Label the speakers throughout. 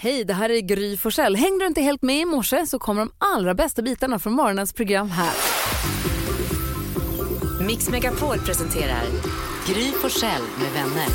Speaker 1: Hej, det här är Gry Forssell. Hängde du inte helt med i morse så kommer de allra bästa bitarna från morgonens program här.
Speaker 2: Mix Megapol presenterar Gry Forssell med vänner.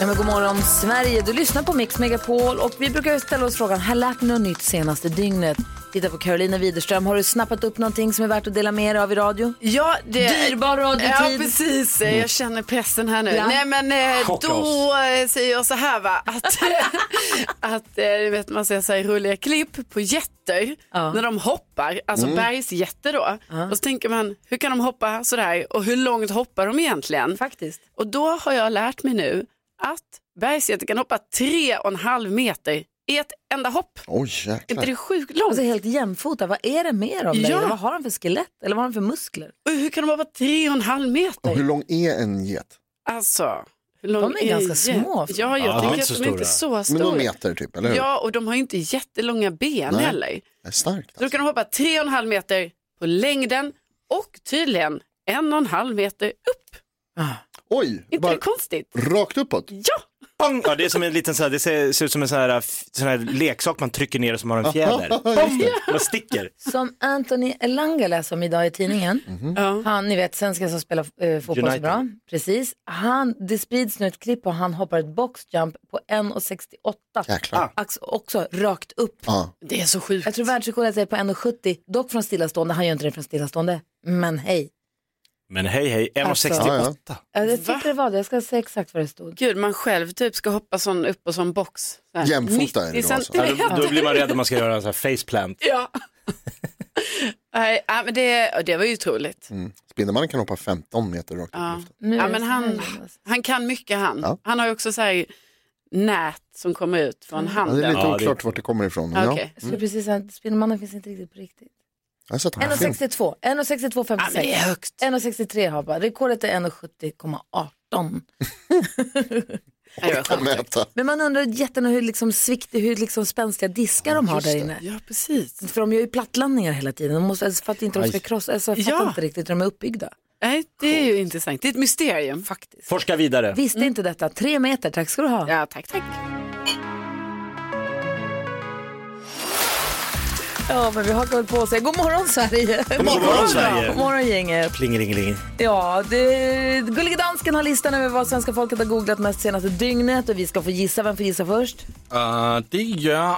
Speaker 1: Ja, men god morgon Sverige, du lyssnar på Mix Megapol och vi brukar ju ställa oss frågan, har lärt ni något nytt senaste dygnet? Titta på Carolina Widerström, har du snappat upp någonting som är värt att dela med dig av i radio?
Speaker 3: Ja, det...
Speaker 1: Dyrbar radiotid.
Speaker 3: Ja, precis.
Speaker 4: Mm.
Speaker 3: Jag känner pressen här nu.
Speaker 1: Ja.
Speaker 3: Nej, men eh,
Speaker 4: Chocka
Speaker 3: då eh, säger jag så här va. Att, att eh, du vet, man ser så här roliga klipp på jätter
Speaker 1: Ja.
Speaker 3: när de hoppar, alltså
Speaker 4: Mm.
Speaker 3: bergsjätter då. Och så tänker man, hur kan de hoppa sådär och hur långt hoppar de egentligen?
Speaker 1: Faktiskt.
Speaker 3: Och då har jag lärt mig nu att bergsjätter kan hoppa tre och en halv meter i ett enda hopp.
Speaker 4: Oj,
Speaker 3: Är inte
Speaker 4: jäklar.
Speaker 3: det sjukt långt?
Speaker 1: Alltså helt jämfota, vad är det med dem? där?
Speaker 3: Ja.
Speaker 1: Vad har de för skelett eller vad har de för muskler?
Speaker 3: Och hur kan de hoppa tre och en halv meter?
Speaker 4: Och hur lång är en get?
Speaker 3: Alltså, hur
Speaker 1: De är ganska
Speaker 3: jätt-
Speaker 1: små.
Speaker 3: Ja, jag
Speaker 5: Ja, de är
Speaker 3: tycker
Speaker 5: inte
Speaker 3: att
Speaker 5: så
Speaker 3: de är inte så
Speaker 4: Men någon
Speaker 3: stora.
Speaker 4: meter typ, eller hur?
Speaker 3: ja, och de har ju inte jättelånga ben
Speaker 4: Nej.
Speaker 3: heller.
Speaker 4: Det är starkt.
Speaker 3: Så då
Speaker 4: Alltså.
Speaker 3: kan de hoppa tre och en halv meter på längden och tydligen en och en halv meter upp.
Speaker 4: Oj,
Speaker 3: Inte
Speaker 4: bara
Speaker 3: det konstigt?
Speaker 4: rakt uppåt.
Speaker 3: Ja,
Speaker 5: Pang! Ja, det är som en liten så här, det ser, ser ut som en sån här, f- sån här leksak man trycker ner och som har en fjäder. Pang! Man sticker.
Speaker 1: Som Anthony Elanga läser om idag i tidningen.
Speaker 4: Mm.
Speaker 3: ja.
Speaker 1: Han, ni vet, svensken som spelar eh, fotboll så
Speaker 5: United.
Speaker 1: bra. Precis. Han, det sprids nu ett klipp och han hoppar ett boxjump på 1,68.
Speaker 5: Ah.
Speaker 4: Jäklar.
Speaker 1: Ax- Alltså, Också rakt upp.
Speaker 4: Ja.
Speaker 3: det är så sjukt.
Speaker 1: Jag tror världsrekordet är på 1,70, dock från stillastående. Han gör inte det från stillastående, men hej.
Speaker 5: Men hej hej, 1,68.
Speaker 1: Alltså.
Speaker 4: Ja, ja.
Speaker 1: Ja, Jag
Speaker 3: Va?
Speaker 1: tyckte det var det, jag ska säga exakt vad det stod.
Speaker 3: Gud, man själv typ ska hoppa sån upp och sån box. Så här.
Speaker 4: Jämfota är det
Speaker 3: 90
Speaker 4: då alltså.
Speaker 5: Ja,
Speaker 3: centimeter.
Speaker 5: då, då blir man rädd om man ska göra en sån här faceplant.
Speaker 3: Ja. Nej, ja, men det, det var ju otroligt.
Speaker 4: Mm. Spindelmannen kan hoppa 15 meter rakt upp i
Speaker 3: Ja.
Speaker 4: luften.
Speaker 1: Nu
Speaker 3: Ja,
Speaker 1: är det
Speaker 3: men
Speaker 1: så
Speaker 3: han,
Speaker 1: här, Jonas.
Speaker 3: han kan mycket han.
Speaker 4: Ja.
Speaker 3: Han har ju också så här nät som kommer ut från
Speaker 4: Mm. Ja, det är
Speaker 3: handen.
Speaker 4: lite
Speaker 5: Ja, det är-
Speaker 4: oklart vart det kommer ifrån. Men
Speaker 3: Ah,
Speaker 4: ja,
Speaker 3: okej.
Speaker 1: Jag skulle precis säga att Spindelmannen finns inte riktigt på riktigt.
Speaker 4: jag har sett honom. Fin.
Speaker 1: 1,62, 1,62,
Speaker 3: Ja, men det är
Speaker 1: 56.
Speaker 3: högt.
Speaker 1: 1,63 har bara. Rekordet är 1,70,18.
Speaker 3: Nej, det var
Speaker 4: Kan
Speaker 3: skönt.
Speaker 4: mäta.
Speaker 1: Men man undrar jätten hur liksom svikt, hur liksom spänstiga diskar de har
Speaker 4: just
Speaker 1: där
Speaker 4: det.
Speaker 1: inne.
Speaker 3: Ja, precis.
Speaker 1: För de gör ju plattlandningar hela tiden. De måste, alltså, för att inte de ska
Speaker 4: Aj.
Speaker 1: krossa, alltså, jag fattar
Speaker 3: Ja.
Speaker 1: inte riktigt hur de är uppbyggda.
Speaker 3: Nej, det är ju intressant. Det är ett mysterium.
Speaker 1: Faktiskt.
Speaker 5: Forska vidare.
Speaker 1: Visste inte detta. Tre meter, tack ska du ha.
Speaker 3: Ja, tack, tack.
Speaker 1: Ja, men vi hakar väl på och säger god morgon Sverige. God
Speaker 5: morgon, Sverige.
Speaker 1: God morgon gänget.
Speaker 5: Plingelingeling.
Speaker 1: Ja, det, Gullige Dansken har listan över vad svenska folket har googlat mest senaste dygnet och vi ska få gissa. Vem får gissa först?
Speaker 6: Uh, det gör,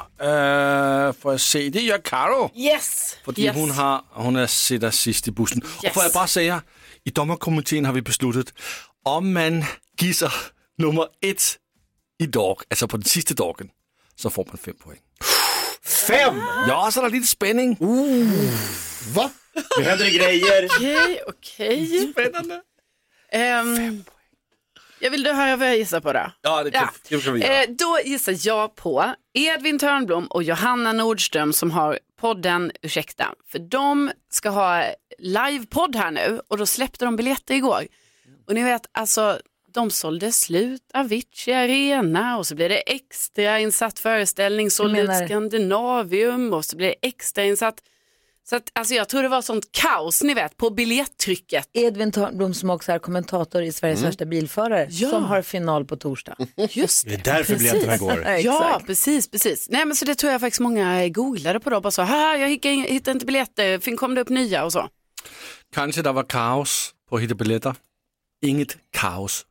Speaker 6: uh, får jag se, det gör Karo.
Speaker 3: Yes!
Speaker 6: Fordi hun, har, hun er sitter sidst i bussen.
Speaker 3: Yes.
Speaker 6: Og får jeg bare sige, i dommerkomiteen har vi besluttet, om man gisser nummer et i dork, altså på den sidste dorken, så får man fem point.
Speaker 5: Fem!
Speaker 6: Ja, så er der lidt spænding.
Speaker 3: Uh.
Speaker 4: Va?
Speaker 5: Nu händer det grejer.
Speaker 3: Okej, okej.
Speaker 6: Spændende.
Speaker 3: Ehm, jag vill du höra vad jag gissar på då?
Speaker 6: Ja, det kan,
Speaker 3: Ja.
Speaker 6: det kan vi gøre.
Speaker 3: Eh, då gissar jag på Edvin Törnblom och Johanna Nordström som har podden Ursäkta. För de ska ha livepodd här nu och då släppte de biljetter igår. Och ni vet, alltså de sålde slut Avicii Arena och så blev det extra insatt föreställning, sålde
Speaker 1: menar-
Speaker 3: ut Skandinavium och så blev det extra insatt. Så att, alltså jag tror det var sånt kaos, ni vet, på biljetttrycket.
Speaker 1: Edvin Törnblom som också är kommentator i Sveriges värsta bilförare
Speaker 3: Ja.
Speaker 1: som har final på torsdag.
Speaker 3: Just
Speaker 5: Det är därför biljetterna går.
Speaker 3: Ja, precis, precis. Nej, men så det tror jag faktiskt många googlade på då, bara så här, jag hittade, hittade inte biljetter, fin- kom det upp nya och så.
Speaker 6: Kanskje der var kaos på at hitte billetter. Inget kaos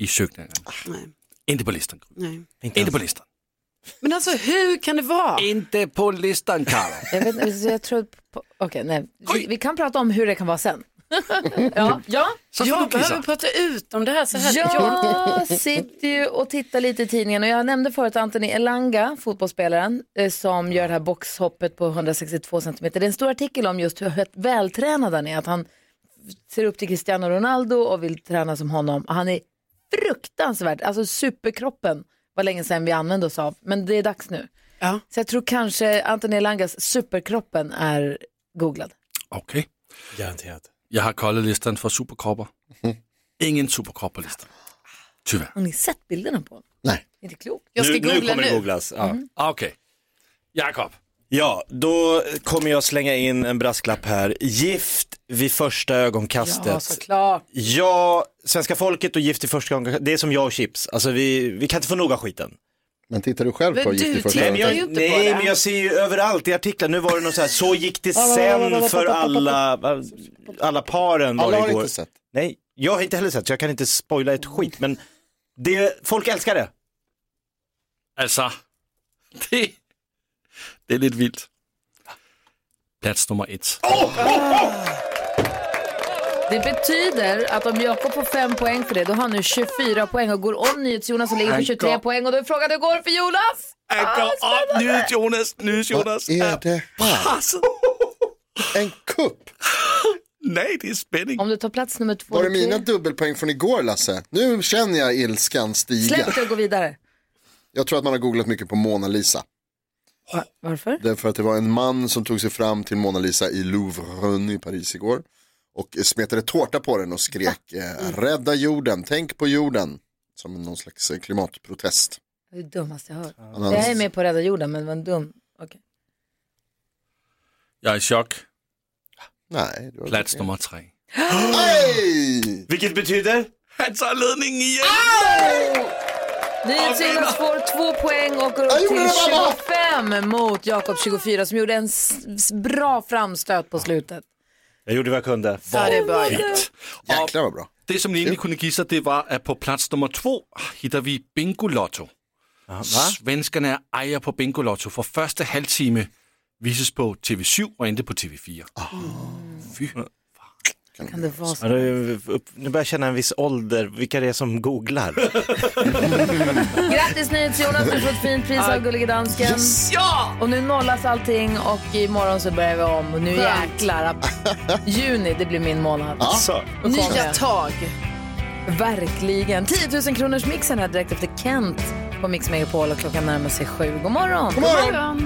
Speaker 6: i søgningerne.
Speaker 3: Nej,
Speaker 6: Inte på listen.
Speaker 3: nej.
Speaker 6: Inte på listen.
Speaker 3: Men alltså hur kan det vara?
Speaker 6: Inte på listen, Karo.
Speaker 1: Jag, vet, alltså, jag tror... på- Okej, nej. Vi, vi kan prata om hur det kan vara sen. ja, ja.
Speaker 6: Så får
Speaker 3: Jag
Speaker 6: du gissa.
Speaker 3: behöver prata ut om det här så här.
Speaker 1: Jag sitter ju och tittar lite i tidningen och jag nämnde förut Anthony Elanga, fotbollsspelaren, eh, som gör det här boxhoppet på 162 cm. Det är en stor artikel om just hur hö- vältränad han är, att han ser upp till Cristiano Ronaldo och vill träna som honom. Han är fruktansvärt, alltså superkroppen var länge sedan vi använde oss av, men det är dags nu.
Speaker 3: Ja.
Speaker 1: Så jag tror kanske Anthony Elangas superkroppen är googlad.
Speaker 6: Okay.
Speaker 5: Garanterat.
Speaker 6: Jeg har koldet listen for superkropper. Ingen superkropper listen. Tyvärr.
Speaker 1: Har ni sett bilderna på honom?
Speaker 4: Nej.
Speaker 1: Inte klokt.
Speaker 3: Jag ska
Speaker 5: Nu, nu
Speaker 3: googla
Speaker 5: kommer det
Speaker 3: nu.
Speaker 5: googlas. Ja.
Speaker 6: Ah, Okay. Jakob.
Speaker 5: Ja, då kommer jag slänga in en brasklapp här. Gift vid första
Speaker 1: Ja,
Speaker 5: ögonkastet.
Speaker 1: såklart.
Speaker 5: Ja, svenska folket och Gift i första gången, det är som jag och chips. Alltså vi, vi kan inte få nog av skiten.
Speaker 4: Men tittar du själv på
Speaker 3: Men
Speaker 4: Gift
Speaker 3: du
Speaker 4: i första
Speaker 5: Nej,
Speaker 3: tittar
Speaker 5: men
Speaker 4: ögonkastet?
Speaker 3: ju
Speaker 5: jag,
Speaker 3: inte på det.
Speaker 5: nej men jag ser ju överallt i artiklar, nu var det någon så här, så gick det sen för alla, alla paren var
Speaker 4: Alla
Speaker 5: det
Speaker 4: har
Speaker 5: igår.
Speaker 4: inte sett.
Speaker 5: Nej, jag har inte heller sett så jag kan inte spoila ett skit men det, folk älskar det.
Speaker 6: Altså, det, det er lidt vildt. Plads nummer et.
Speaker 1: Det betyder att om Jakob får fem poäng för det, då har han nu 24 poäng och går om NyhetsJonas som ligger på
Speaker 6: Han
Speaker 1: 23
Speaker 6: går-
Speaker 1: poäng. Och då är frågan hur det går för Jonas?
Speaker 6: Han går op, nydes Jonas, nydes Jonas.
Speaker 4: Vad är det här?
Speaker 6: presset.
Speaker 4: En kupp?
Speaker 6: Nej, det er spænding.
Speaker 1: Om du tar plats nummer två
Speaker 4: Var det
Speaker 1: och tre,
Speaker 4: mina dubbelpoäng från igår Lasse? Nu känner jag ilskan stiga.
Speaker 1: Släpp det och gå vidare.
Speaker 4: Jag tror att man har googlat mycket på Mona Lisa.
Speaker 1: Va- Varför?
Speaker 4: Därför att det var en man som tog sig fram till Mona Lisa i Louvren i Paris igår. Och smetade tårta på den och skrek eh, rädda jorden, tänk på jorden. Som någon slags eh, klimatprotest.
Speaker 1: Det är det dummaste jag hört.
Speaker 4: Han
Speaker 1: Jag är
Speaker 4: hade-
Speaker 1: med på Rädda Jorden, men vad en dum. Okej.
Speaker 6: Jeg er i chok.
Speaker 4: Nej, det var
Speaker 6: Plads nummer tre.
Speaker 4: Nej!
Speaker 5: Vilket betyder?
Speaker 6: Han tager ledningen igen.
Speaker 1: NyhetsJonas får två poäng och går
Speaker 4: Jag
Speaker 1: upp
Speaker 4: gjorde
Speaker 1: till
Speaker 4: det, mamma!
Speaker 1: 25 mot Jakob 24 som gjorde en s- s- bra framstöt på slutet.
Speaker 5: Jag gjorde vad jag kunde.
Speaker 3: Ja, det är bra.
Speaker 6: Vildt. Og
Speaker 4: Jäklar vad bra.
Speaker 6: det, som ni egentlig kunne give sig, det var, at på plads nummer to ah, hitter vi Bingo Lotto. Svenskerne er ejer på Bingo Lotto for første halvtime vises på TV7 og endte på TV4.
Speaker 1: Kan det vara så?
Speaker 5: Ja, nu, upp- nu börjar jag känna en viss ålder, vilka det är som googlar.
Speaker 1: Grattis NyhetsJonas, du får ett fint pris av Gullige Dansken. Och nu nollas allting och imorgon så börjar vi om. Och nu
Speaker 3: Skönt.
Speaker 1: jäklar. Juni, det blir min månad.
Speaker 5: Så.
Speaker 1: Då kommer
Speaker 3: Nya
Speaker 1: jag.
Speaker 3: tag.
Speaker 1: Verkligen. 10 000 kronors mixen här direkt efter Kent på Mix Megapol och klockan närmar sig sju. God morgon.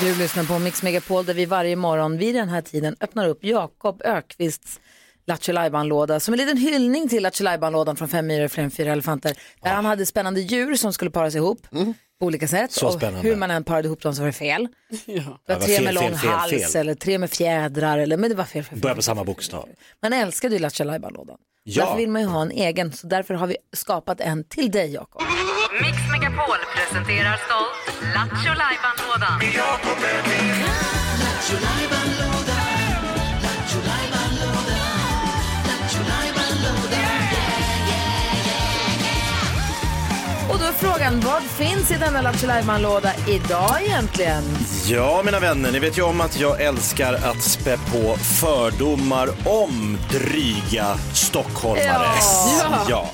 Speaker 1: Du lyssnar på Mix Megapol där vi varje morgon vid den här tiden öppnar upp Jakob Ökvists Lattjo låda som en liten hyllning till Lattjo lådan från Fem myror fler än fyra elefanter. Där han hade spännande djur som skulle paras ihop på olika sätt.
Speaker 5: Mm. Så
Speaker 1: Och
Speaker 5: spännande.
Speaker 1: hur man än parade ihop dem så var det fel. Det
Speaker 5: Ja,
Speaker 1: var
Speaker 5: det var
Speaker 1: tre
Speaker 5: fel,
Speaker 1: med lång
Speaker 5: fel, fel,
Speaker 1: hals
Speaker 5: fel.
Speaker 1: eller tre med fjädrar. Eller, men det var fel. fel, fel.
Speaker 5: Börjar på samma bokstav.
Speaker 1: Man älskade ju Lattjo lådan
Speaker 5: Ja.
Speaker 1: Därför vill man ju ha en egen. Så därför har vi skapat en till dig Jakob.
Speaker 2: Mix Megapol presenterar stolt Lattjo Lajban-lådan.
Speaker 1: Och då är frågan, vad finns i denna Lattjo låda idag egentligen?
Speaker 5: Ja, mina vänner, ni vet ju om att jag älskar att spä på fördomar om dryga stockholmare.
Speaker 1: Ja.
Speaker 5: ja.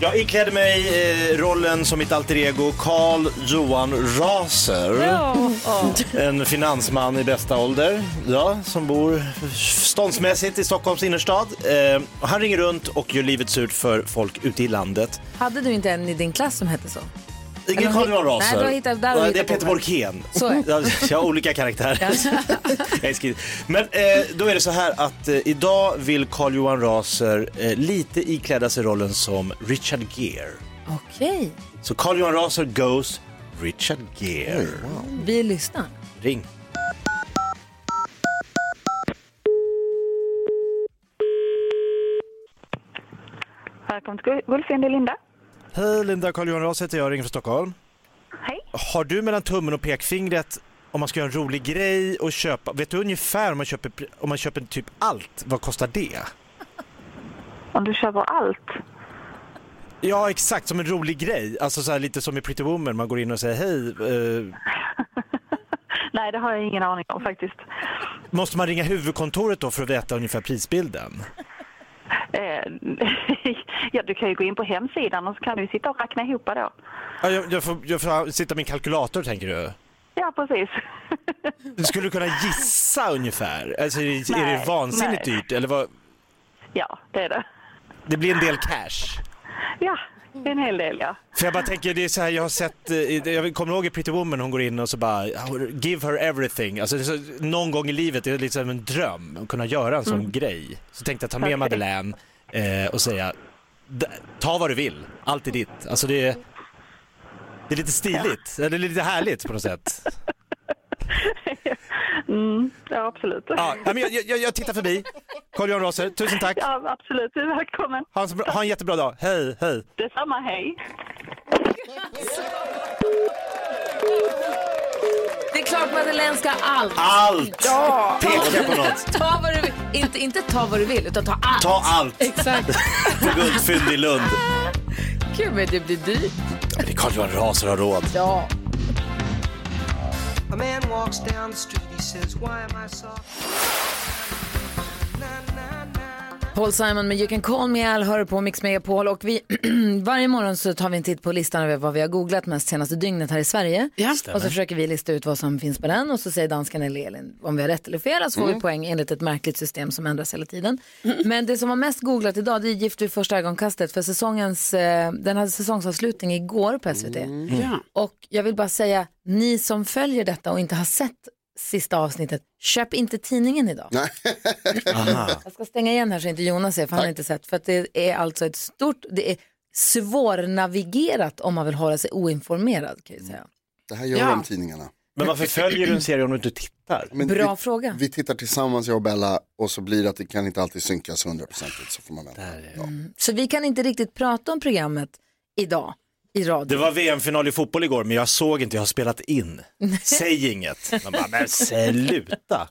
Speaker 5: Jag iklädde mig eh, rollen som mitt alter ego Carl Johan Raser. En finansman i bästa ålder, ja, som bor ståndsmässigt i Stockholms innerstad. Eh, och han ringer runt och gör livet surt för folk ute i landet.
Speaker 1: Hade du inte en i din klass som hette så? Eller
Speaker 5: Ingen Carl
Speaker 1: hitt-
Speaker 5: Johan Raser.
Speaker 1: nej, du har hittat- där har du
Speaker 5: Nej, det är
Speaker 1: hittat på
Speaker 5: Peter
Speaker 1: mig.
Speaker 5: Borkén.
Speaker 1: Så är det.
Speaker 5: Ja, Jag har olika karaktärer. Jag är skriven. Men eh, då är det så här att eh, idag vill Carl Johan Raser eh, lite ikläda sig rollen som Richard Gere.
Speaker 1: Okej,
Speaker 5: Så Carl Johan Raser goes Richard Gere.
Speaker 1: vi lyssnar.
Speaker 5: Ring.
Speaker 7: Välkommen till Guldfyn, det är Linda.
Speaker 5: Hej Linda, Carl Johan Raser heter jag, ringer från Stockholm.
Speaker 7: Hej.
Speaker 5: Har du mellan tummen och pekfingret om man ska göra en rolig grej och köpa, vet du ungefär om man köper, om man köper typ allt, vad kostar det?
Speaker 7: Om du köper allt.
Speaker 5: Ja, exakt. Som en rolig grej. Alltså så här, lite som i Pretty Woman. Man går in och säger hej. eh,
Speaker 7: Nej, det har jag ingen aning om faktiskt.
Speaker 5: måste man ringa huvudkontoret då för att veta ungefär prisbilden?
Speaker 7: Eh, ja, du kan ju gå in på hemsidan och så kan du ju sitta och räkna ihop då.
Speaker 5: Ja, jag, jag, får, jag får sitta med min kalkylator, tänker
Speaker 7: Ja, precis.
Speaker 5: du. Skulle du kunna gissa ungefär? Alltså, är, det, är det
Speaker 7: Nej,
Speaker 5: vansinnigt
Speaker 7: nej.
Speaker 5: dyrt? Eller vad?
Speaker 7: ja, det är det.
Speaker 5: Det blir en del cash.
Speaker 7: Ja, det är en hel del ja.
Speaker 5: För jag bara tänker, det är så här, jag har sett, eh, i- jag kommer ihåg i Pretty Woman, hon går in och så bara “give her everything”. Alltså, det är så, någon gång i livet, det är liksom en dröm att kunna göra en sån grej. Så tänkte jag ta med Madeleine eh, och säga "D- “ta vad du vill, allt är ditt”. Alltså det är, det är lite stiligt, eller lite härligt på något sätt.
Speaker 7: Ja, absolut.
Speaker 5: Ja, nej, men jag, jag, jag tittar förbi. Carl-Johan Raser, tusen tack.
Speaker 7: Ja, absolut. Du är välkommen.
Speaker 5: Ha en, så bra- ha en jättebra dag. Hej, hej.
Speaker 7: Detsamma, hej.
Speaker 1: klart Madeleine ska allt.
Speaker 8: Allt!
Speaker 1: Ja.
Speaker 8: Peka på något.
Speaker 1: Ta vad du vill. Inte, inte ta vad du vill, utan ta allt.
Speaker 8: Ta allt
Speaker 1: Exakt.
Speaker 8: för guldfynd i Lund.
Speaker 1: Gud, men det blir dyrt.
Speaker 8: Men det är Carl Johan Raser har råd.
Speaker 1: Ja.
Speaker 9: A man walks down the street, he says, Why am I soft?
Speaker 1: Paul Simon med You can call me Al hör på Mix Megapol och vi varje morgon så tar vi en titt på listan över vad vi har googlat mest senaste dygnet här i Sverige.
Speaker 3: Ja.
Speaker 1: Och så försöker vi lista ut vad som finns på den och så säger danskan eller Elin om vi har rätt eller fel så får
Speaker 3: Mm.
Speaker 1: vi poäng enligt ett märkligt system som ändras hela tiden. Men det som var mest googlat idag det är Gift vid första ögonkastet för säsongens, eh, den hade säsongsavslutning igår på SVT.
Speaker 3: Mm. Ja.
Speaker 1: Mm. Och jag vill bara säga, ni som följer detta och inte har sett sista avsnittet, köp inte tidningen idag.
Speaker 8: Aha.
Speaker 1: Jag ska stänga igen här så inte Jonas ser, för han har inte sett. För att det är alltså ett stort, det är svårnavigerat om man vill hålla sig oinformerad kan jag säga.
Speaker 4: Det här gör
Speaker 3: Ja.
Speaker 4: de tidningarna.
Speaker 8: Men varför följer du en serie om du inte tittar?
Speaker 4: Men
Speaker 1: Bra
Speaker 4: vi,
Speaker 1: fråga.
Speaker 4: Vi tittar tillsammans, jag och Bella, och så blir det att det kan inte alltid synkas hundraprocentigt. Så får man vänta. Ja.
Speaker 1: Så vi kan inte riktigt prata om programmet idag i
Speaker 8: Det
Speaker 1: radio.
Speaker 8: var VM-final i fotboll igår, men jag såg inte, jag har spelat in. Säg inget. Man bara, men sluta.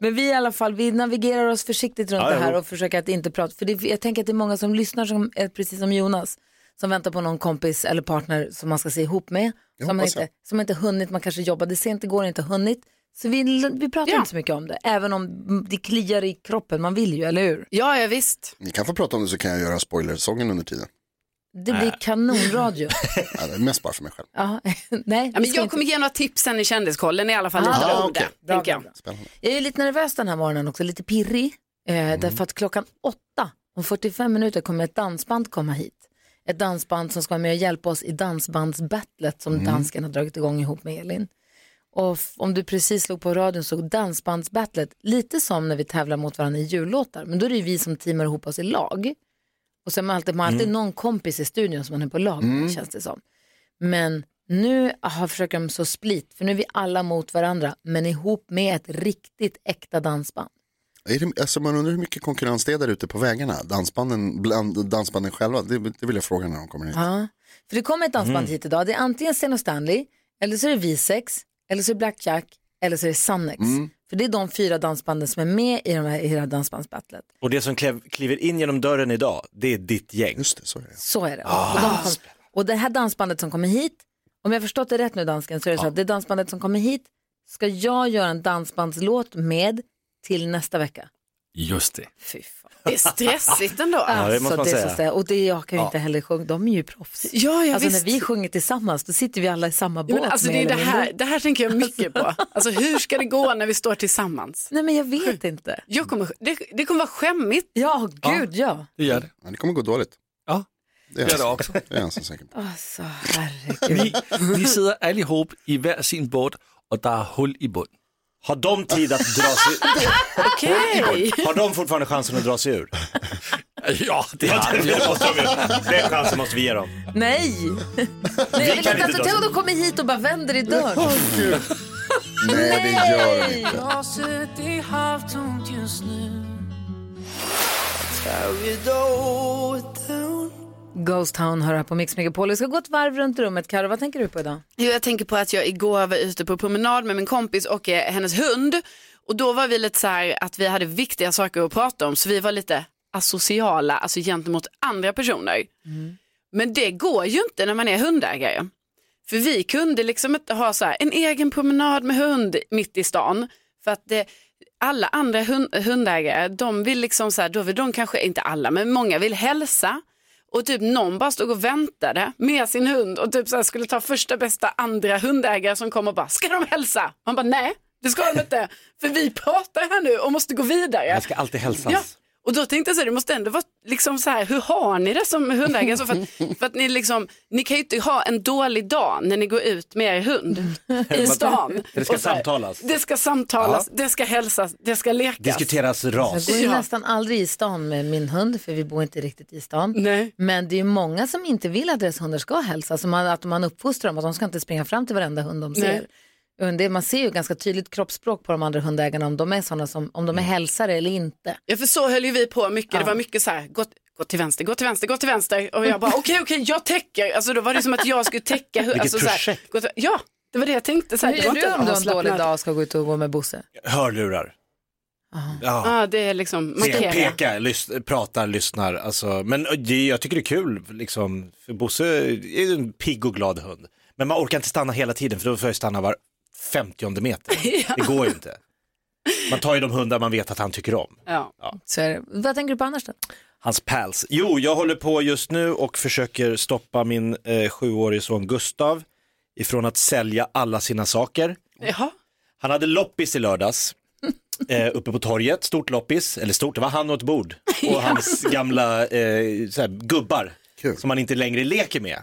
Speaker 1: Men vi i alla fall, vi navigerar oss försiktigt runt
Speaker 8: Ja,
Speaker 1: det här
Speaker 8: jo.
Speaker 1: och försöker att inte prata. För det, jag tänker att det är många som lyssnar, som är precis som Jonas, som väntar på någon kompis eller partner som man ska se ihop med. Som man,
Speaker 4: hoppas
Speaker 1: inte, som inte hunnit, man kanske jobbade sent igår och inte hunnit. Så vi, vi pratar
Speaker 3: Ja.
Speaker 1: inte så mycket om det, även om det kliar i kroppen, man vill ju, eller hur?
Speaker 3: ja, ja visst.
Speaker 4: Ni kan få prata om det så kan jag göra spoilersången under tiden.
Speaker 1: Det blir kanonradio.
Speaker 4: Ja, det är mest bara för mig själv.
Speaker 1: ja, nej,
Speaker 3: Ja, men
Speaker 1: vi ska
Speaker 3: jag
Speaker 1: inte-
Speaker 3: kommer ge några tips sen i kändiskollen i alla fall.
Speaker 1: Ah,
Speaker 3: lite om
Speaker 4: okej.
Speaker 3: det, tänker jag.
Speaker 4: Spännande.
Speaker 1: Jag är lite nervös den här morgonen också, lite pirrig. Eh, Därför att klockan åtta, om 45 minuter, kommer ett dansband komma hit. Ett dansband som ska vara med och hjälpa oss i dansbandsbattlet som dansken har dragit igång ihop med Elin. Och f- om du precis slog på radion så dansbandsbattlet, lite som när vi tävlar mot varandra i jullåtar, men då är det ju vi som teamar ihop oss i lag. Och sen har alltid, man har alltid någon kompis i studion som man är på lag med, känns det som. Men nu har försöker de så split, för nu är vi alla mot varandra, men ihop med ett riktigt äkta dansband.
Speaker 4: Är det, alltså man undrar hur mycket konkurrens det är där ute på vägarna. Dansbanden, bland, dansbanden själva, det, det vill jag fråga när de kommer hit.
Speaker 1: Ja. För det kommer ett dansband hit idag, det är antingen Sten och Stanley, eller så är det Visex, eller så är det Blackjack, eller så är det Sannex. För det är de fyra dansbanden som är med i, de här, i det här dansbandsbattlet.
Speaker 8: Och det som klev, kliver in genom dörren idag, det är ditt gäng.
Speaker 4: Just det, så är det.
Speaker 1: Så är det. och, de kom, och det här dansbandet som kommer hit, om jag har förstått det rätt nu dansken, så är det så att det dansbandet som kommer hit ska jag göra en dansbandslåt med till nästa vecka.
Speaker 6: Just det.
Speaker 1: Fy fan.
Speaker 3: Det är stressigt ändå.
Speaker 1: Alltså,
Speaker 8: det måste man
Speaker 1: det är
Speaker 8: säga.
Speaker 1: så starkt. Och det jag kan ju inte heller sjunga, de är ju proffs.
Speaker 3: Ja, ja
Speaker 1: alltså
Speaker 3: visst.
Speaker 1: när vi sjunger tillsammans, då sitter vi alla i samma
Speaker 3: Ja,
Speaker 1: båt.
Speaker 3: men alltså,
Speaker 1: mer
Speaker 3: det, är det,
Speaker 1: eller
Speaker 3: här,
Speaker 1: mindre.
Speaker 3: det här tänker jag mycket på. Alltså, hur ska det gå när vi står tillsammans?
Speaker 1: Nej men jag vet inte.
Speaker 3: Jag kommer, det, det kommer vara skämmigt.
Speaker 1: Ja, gud ja.
Speaker 6: Det gör det.
Speaker 4: Ja, det kommer gå dåligt.
Speaker 6: Ja.
Speaker 4: Det är jag, det också. Det är jag så säker på.
Speaker 1: Alltså herregud.
Speaker 6: Vi, vi sidder allihop i hver sin båt, og der er hul i bunden.
Speaker 8: Har de tid att dra sig
Speaker 3: Okej.
Speaker 8: Har de fortfarande chansen att dra sig ur?
Speaker 6: Ja, det har det.
Speaker 8: Det måste de ju. Den chansen måste vi ge dem.
Speaker 1: Nej. Nej jag vill
Speaker 8: kan
Speaker 1: inte
Speaker 8: inte
Speaker 1: att
Speaker 8: dra oss.
Speaker 1: Teodor kommer hit och bara vänder i dörren.
Speaker 4: Nej, det gör det inte.
Speaker 1: Ghost Town hör här på Mix Megapol. Vi ska gå ett varv runt rummet. Karo, vad tänker du på idag?
Speaker 3: Jo, Jag tänker på att jag igår var ute på promenad med min kompis och eh, hennes hund. Och då var vi lite så här att vi hade viktiga saker att prata om så vi var lite asociala, alltså gentemot andra personer. Men det går ju inte när man är hundägare. För vi kunde liksom inte ha så här en egen promenad med hund mitt i stan. För att det, alla andra hund, hundägare, de vill liksom så här, då vill de kanske, inte alla, men många vill hälsa. Och typ någon bara stod och väntade med sin hund och typ så här skulle ta första bästa andra hundägare som kom och bara, ska de hälsa? Man bara, nej, det ska de inte. För vi pratar här nu och måste gå vidare.
Speaker 8: ska alltid hälsas.
Speaker 3: Ja. Och då tänkte jag så här, det måste ändå vara liksom så här, hur har ni det som hundägare? Så för, att, för att ni liksom, ni kan ju inte ha en dålig dag när ni går ut med er hund i stan.
Speaker 8: Det ska
Speaker 3: Och så här,
Speaker 8: samtalas.
Speaker 3: Det ska samtalas, det ska hälsas, det ska lekas.
Speaker 8: Diskuteras
Speaker 1: Jag
Speaker 8: ras.
Speaker 1: går ju
Speaker 3: Ja.
Speaker 1: nästan aldrig i stan med min hund, för vi bor inte riktigt i stan.
Speaker 3: Nej.
Speaker 1: Men det är ju många som inte vill att deras hundar ska hälsa, som man, att man uppfostrar dem, att de ska inte springa fram till varenda hund de ser.
Speaker 3: Nej.
Speaker 1: Och Det, man ser ju ganska tydligt kroppsspråk på de andra hundägarna, om de är sådana som, om de är hälsare eller inte.
Speaker 3: Ja, för så höll ju vi på mycket. Det var mycket så här, gå, gå till vänster, gå till vänster, gå till vänster. Och jag bara, okej, okej, jag täcker. Alltså då var det som att jag skulle täcka. hur-
Speaker 8: Vilket
Speaker 3: alltså, så här,
Speaker 8: projekt.
Speaker 3: gå till, ja, Det var det jag tänkte. Så här,
Speaker 1: Hur
Speaker 3: det
Speaker 1: gör
Speaker 3: var
Speaker 1: du
Speaker 3: inte
Speaker 1: om du har en
Speaker 3: avslappnat.
Speaker 1: dålig dag och ska gå ut och gå med Bosse?
Speaker 5: Hörlurar. Ja.
Speaker 3: Ja, det är liksom
Speaker 5: Se,
Speaker 3: markera.
Speaker 5: Pekar, lys- pratar, lyssnar. Alltså, men det, jag tycker det är kul, liksom, för Bosse är ju en pigg och glad hund. Men man orkar inte stanna hela tiden för då får jag stanna var 50 meter. Det går ju inte. Man tar ju de hundar man vet att han tycker om.
Speaker 3: Ja.
Speaker 1: Så är det. Vad tänker du på annars då?
Speaker 5: Hans päls. Jo, jag håller på just nu och försöker stoppa min eh, sjuårige son Gustav ifrån att sälja alla sina saker.
Speaker 3: Jaha.
Speaker 5: Han hade loppis i lördags. Eh, uppe på torget, stort loppis, eller stort, det var han och ett bord och hans gamla eh, så här, gubbar
Speaker 4: Kul.
Speaker 5: som han inte längre leker med.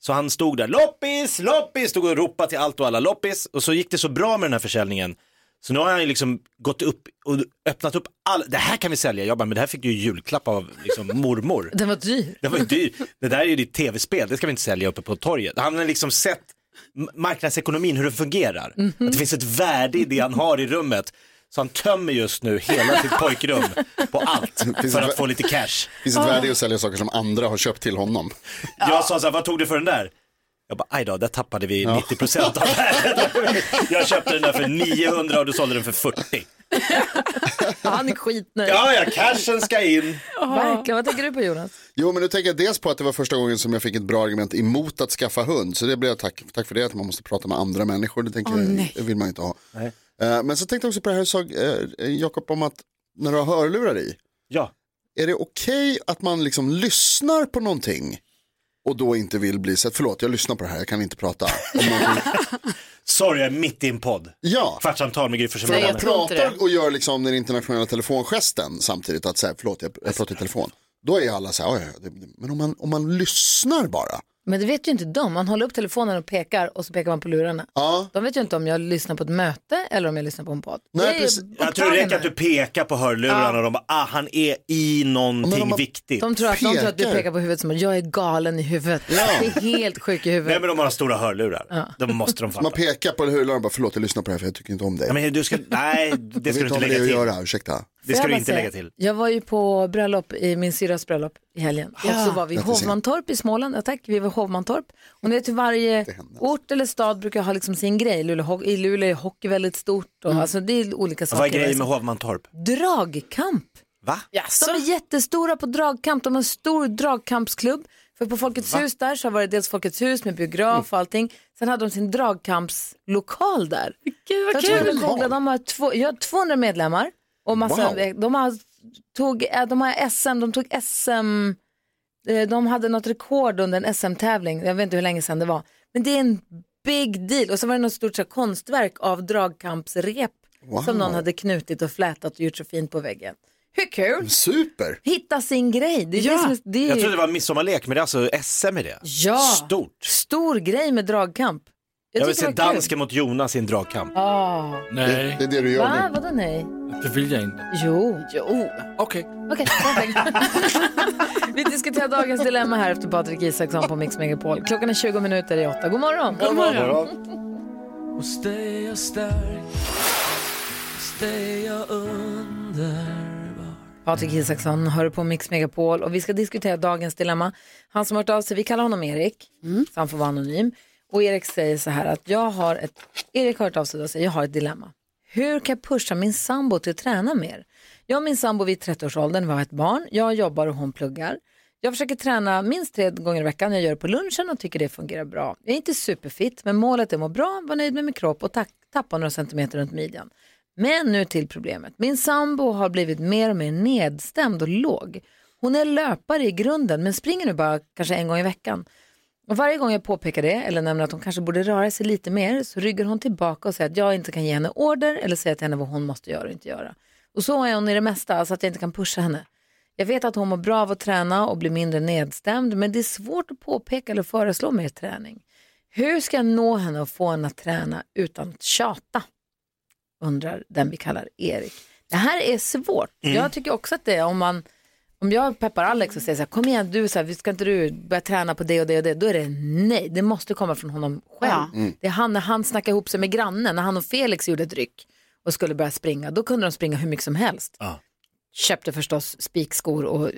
Speaker 5: Så han stod där, loppis, loppis, stod och ropade till allt och alla, loppis. Och så gick det så bra med den här försäljningen. Så nu har han ju liksom gått upp och öppnat upp all, det här kan vi sälja. Jag bara, men det här fick du ju julklapp av liksom, mormor.
Speaker 1: Den var dyr.
Speaker 5: Det var ju dyr. Det där är ju ditt tv-spel, det ska vi inte sälja uppe på torget. Han har liksom sett m- marknadsekonomin, hur den fungerar. Att det finns ett värde i det han har i rummet. Så han tömmer just nu hela sitt pojkrum på allt
Speaker 4: Finns
Speaker 5: för
Speaker 4: det-
Speaker 5: att få lite cash.
Speaker 4: Finns ett värde i att sälja saker som andra har köpt till honom.
Speaker 5: Jag sa så här, vad tog du för den där? Jag bara, aj då, där tappade vi 90% av värdet. Jag köpte den där för 900 och du sålde den för 40.
Speaker 1: Han är skitnöjd.
Speaker 5: Ja, ja, cashen ska in.
Speaker 1: Verkligen. Vad tänker du på Jonas?
Speaker 4: Jo, men nu tänker jag dels på att det var första gången som jag fick ett bra argument emot att skaffa hund. Så det blev jag tack, tack för det, att man måste prata med andra människor. Det tänker jag, det vill man inte ha. Eh, men så tänkte jag också på det här du sa, eh, Jakob, om att när du har hörlurar i,
Speaker 5: Ja,
Speaker 4: är det okej att man liksom lyssnar på någonting och då inte vill bli sett? Förlåt, jag lyssnar på det här, jag kan inte prata. Om man-
Speaker 5: sorry, jag är mitt i en podd.
Speaker 4: ja.
Speaker 5: Kvartsamtal med Gry Forssell.
Speaker 3: Nej, jag
Speaker 5: med vänner.
Speaker 3: tror inte det.
Speaker 4: pratar och gör liksom den internationella telefongesten samtidigt, att säga förlåt jag, jag pratar i telefon. Då är alla så här, "Oj, oj, oj." men om man, om man lyssnar bara.
Speaker 1: Men det vet ju inte de. Man håller upp telefonen och pekar och så pekar man på lurarna.
Speaker 4: Ja,
Speaker 1: De vet ju inte om jag lyssnar på ett möte eller om jag lyssnar på en podd.
Speaker 4: Nej,
Speaker 1: Det är ju
Speaker 4: precis.
Speaker 5: Jag tror det räcker att du
Speaker 1: upptagen
Speaker 5: pekar på hörlurarna och de bara, ah, han är i
Speaker 4: Men
Speaker 5: någonting
Speaker 4: om man-
Speaker 1: här.
Speaker 5: viktigt.
Speaker 1: de tror, att, de tror att du
Speaker 4: pekar.
Speaker 1: pekar på huvudet som att jag är galen i huvudet.
Speaker 4: Ja.
Speaker 1: Jag är helt sjuk i
Speaker 5: Nej
Speaker 1: huvudet.
Speaker 5: men de har stora hörlurar, de måste de fatta.
Speaker 4: man pekar på hörlurarna och bara förlåt jag lyssnar på det här för jag tycker inte om dig.
Speaker 5: Nej, men du ska, nej det
Speaker 4: jag
Speaker 5: ska
Speaker 4: vet
Speaker 5: du
Speaker 4: inte
Speaker 5: inte
Speaker 4: om det
Speaker 5: lägga
Speaker 4: att
Speaker 5: till.
Speaker 4: göra, ursäkta.
Speaker 5: Det
Speaker 1: Får
Speaker 5: ska
Speaker 1: jag
Speaker 5: du
Speaker 1: bara
Speaker 5: inte
Speaker 1: säga,
Speaker 5: lägga till.
Speaker 1: Jag var ju på bröllop i min syrras bröllop i helgen.
Speaker 5: Ah,
Speaker 1: Och så var vi i
Speaker 4: Grattis, ja.
Speaker 1: Hovmantorp i Småland. Ja, tack, vi var i Hovmantorp. Och ni vet hur varje ort eller stad brukar ha liksom sin grej. Luleå, ho- I Luleå är hockey väldigt stort. Och, alltså, det är olika saker.
Speaker 5: Mm. Vad är grejen med Hovmantorp?
Speaker 1: Dragkamp.
Speaker 5: Va?
Speaker 3: Jaså?
Speaker 1: De är jättestora på dragkamp. De har en stor dragkampsklubb. För på Folkets hus där så var det dels Folkets hus med
Speaker 3: Mm.
Speaker 1: biograf och allting. Sen hade de sin dragkampslokal där.
Speaker 3: Gud vad
Speaker 1: Jag tror
Speaker 3: kul.
Speaker 1: att Kongla, de har två, jag har 200 medlemmar och massa,
Speaker 4: Wow.
Speaker 1: de, har, tog, eh, de har SM, de tog SM, eh, de hade något rekord under en SM-tävling, jag vet inte hur länge sedan det var. Men det är en big deal och så var det något stort så här, konstverk av dragkampsrep som någon hade knutit och flätat och gjort så fint på väggen. Hur kul!
Speaker 4: Super!
Speaker 1: Hitta sin grej, det är det som är, det
Speaker 5: Jag
Speaker 1: är,
Speaker 5: trodde det var midsommarlek, men det är alltså SM i det.
Speaker 1: ja,
Speaker 5: Stort.
Speaker 1: stor grej med dragkamp. Jag,
Speaker 5: Jag vill
Speaker 1: tyckte
Speaker 5: se
Speaker 1: det var kul.
Speaker 5: dansken mot Jonas i en dragkamp.
Speaker 1: Ah.
Speaker 10: Nej,
Speaker 4: Det är det du gör
Speaker 1: Va?
Speaker 4: nu.
Speaker 1: Vadå nej?
Speaker 10: det vill jag inte.
Speaker 1: Jo.
Speaker 3: Jo.
Speaker 10: Okej.
Speaker 1: Okej, perfekt. Vi diskuterar dagens dilemma här efter Patrik Isaksson på Mix Megapol. Klockan är 20 minuter i åtta. God morgon! God morgon. Patrik Isaksson hör på Mix Megapol och vi ska diskutera dagens dilemma. Han som har hört av sig, vi kallar honom Erik, så han får vara anonym. Och Erik säger så här att jag har ett, Erik har hört av sig och säger jag har ett dilemma. Hur kan jag pusha min sambo till att träna mer? Jag och min sambo vid 30-årsåldern var ett barn, jag jobbar och hon pluggar. Jag försöker träna minst tre gånger i veckan, jag gör det på lunchen och tycker det fungerar bra. Jag är inte superfit, men målet är att må bra, vara nöjd med min kropp och ta- tappa några centimeter runt midjan. Men nu till problemet. Min sambo har blivit mer och mer nedstämd och låg. Hon är löpare i grunden men springer nu bara kanske en gång i veckan. Och varje gång jag påpekar det eller nämner att hon kanske borde röra sig lite mer så ryggar hon tillbaka och säger att jag inte kan ge henne order eller säga till henne vad hon måste göra och inte göra. Och så är hon i det mesta, alltså att jag inte kan pusha henne. Jag vet att hon mår bra av att träna och blir mindre nedstämd men det är svårt att påpeka eller föreslå mer träning. Hur ska jag nå henne och få henne att träna utan att tjata? undrar den vi kallar Erik. Det här är svårt. Jag tycker också att det är om man, om jag peppar Alex och säger så här, kom igen du, så här, ska inte du börja träna på det och det och det, då är det nej, det måste komma från honom själv. Det är han när han snackar ihop sig med grannen, när han och Felix gjorde ett ryck och skulle börja springa, då kunde de springa hur mycket som helst. Köpte förstås spikskor och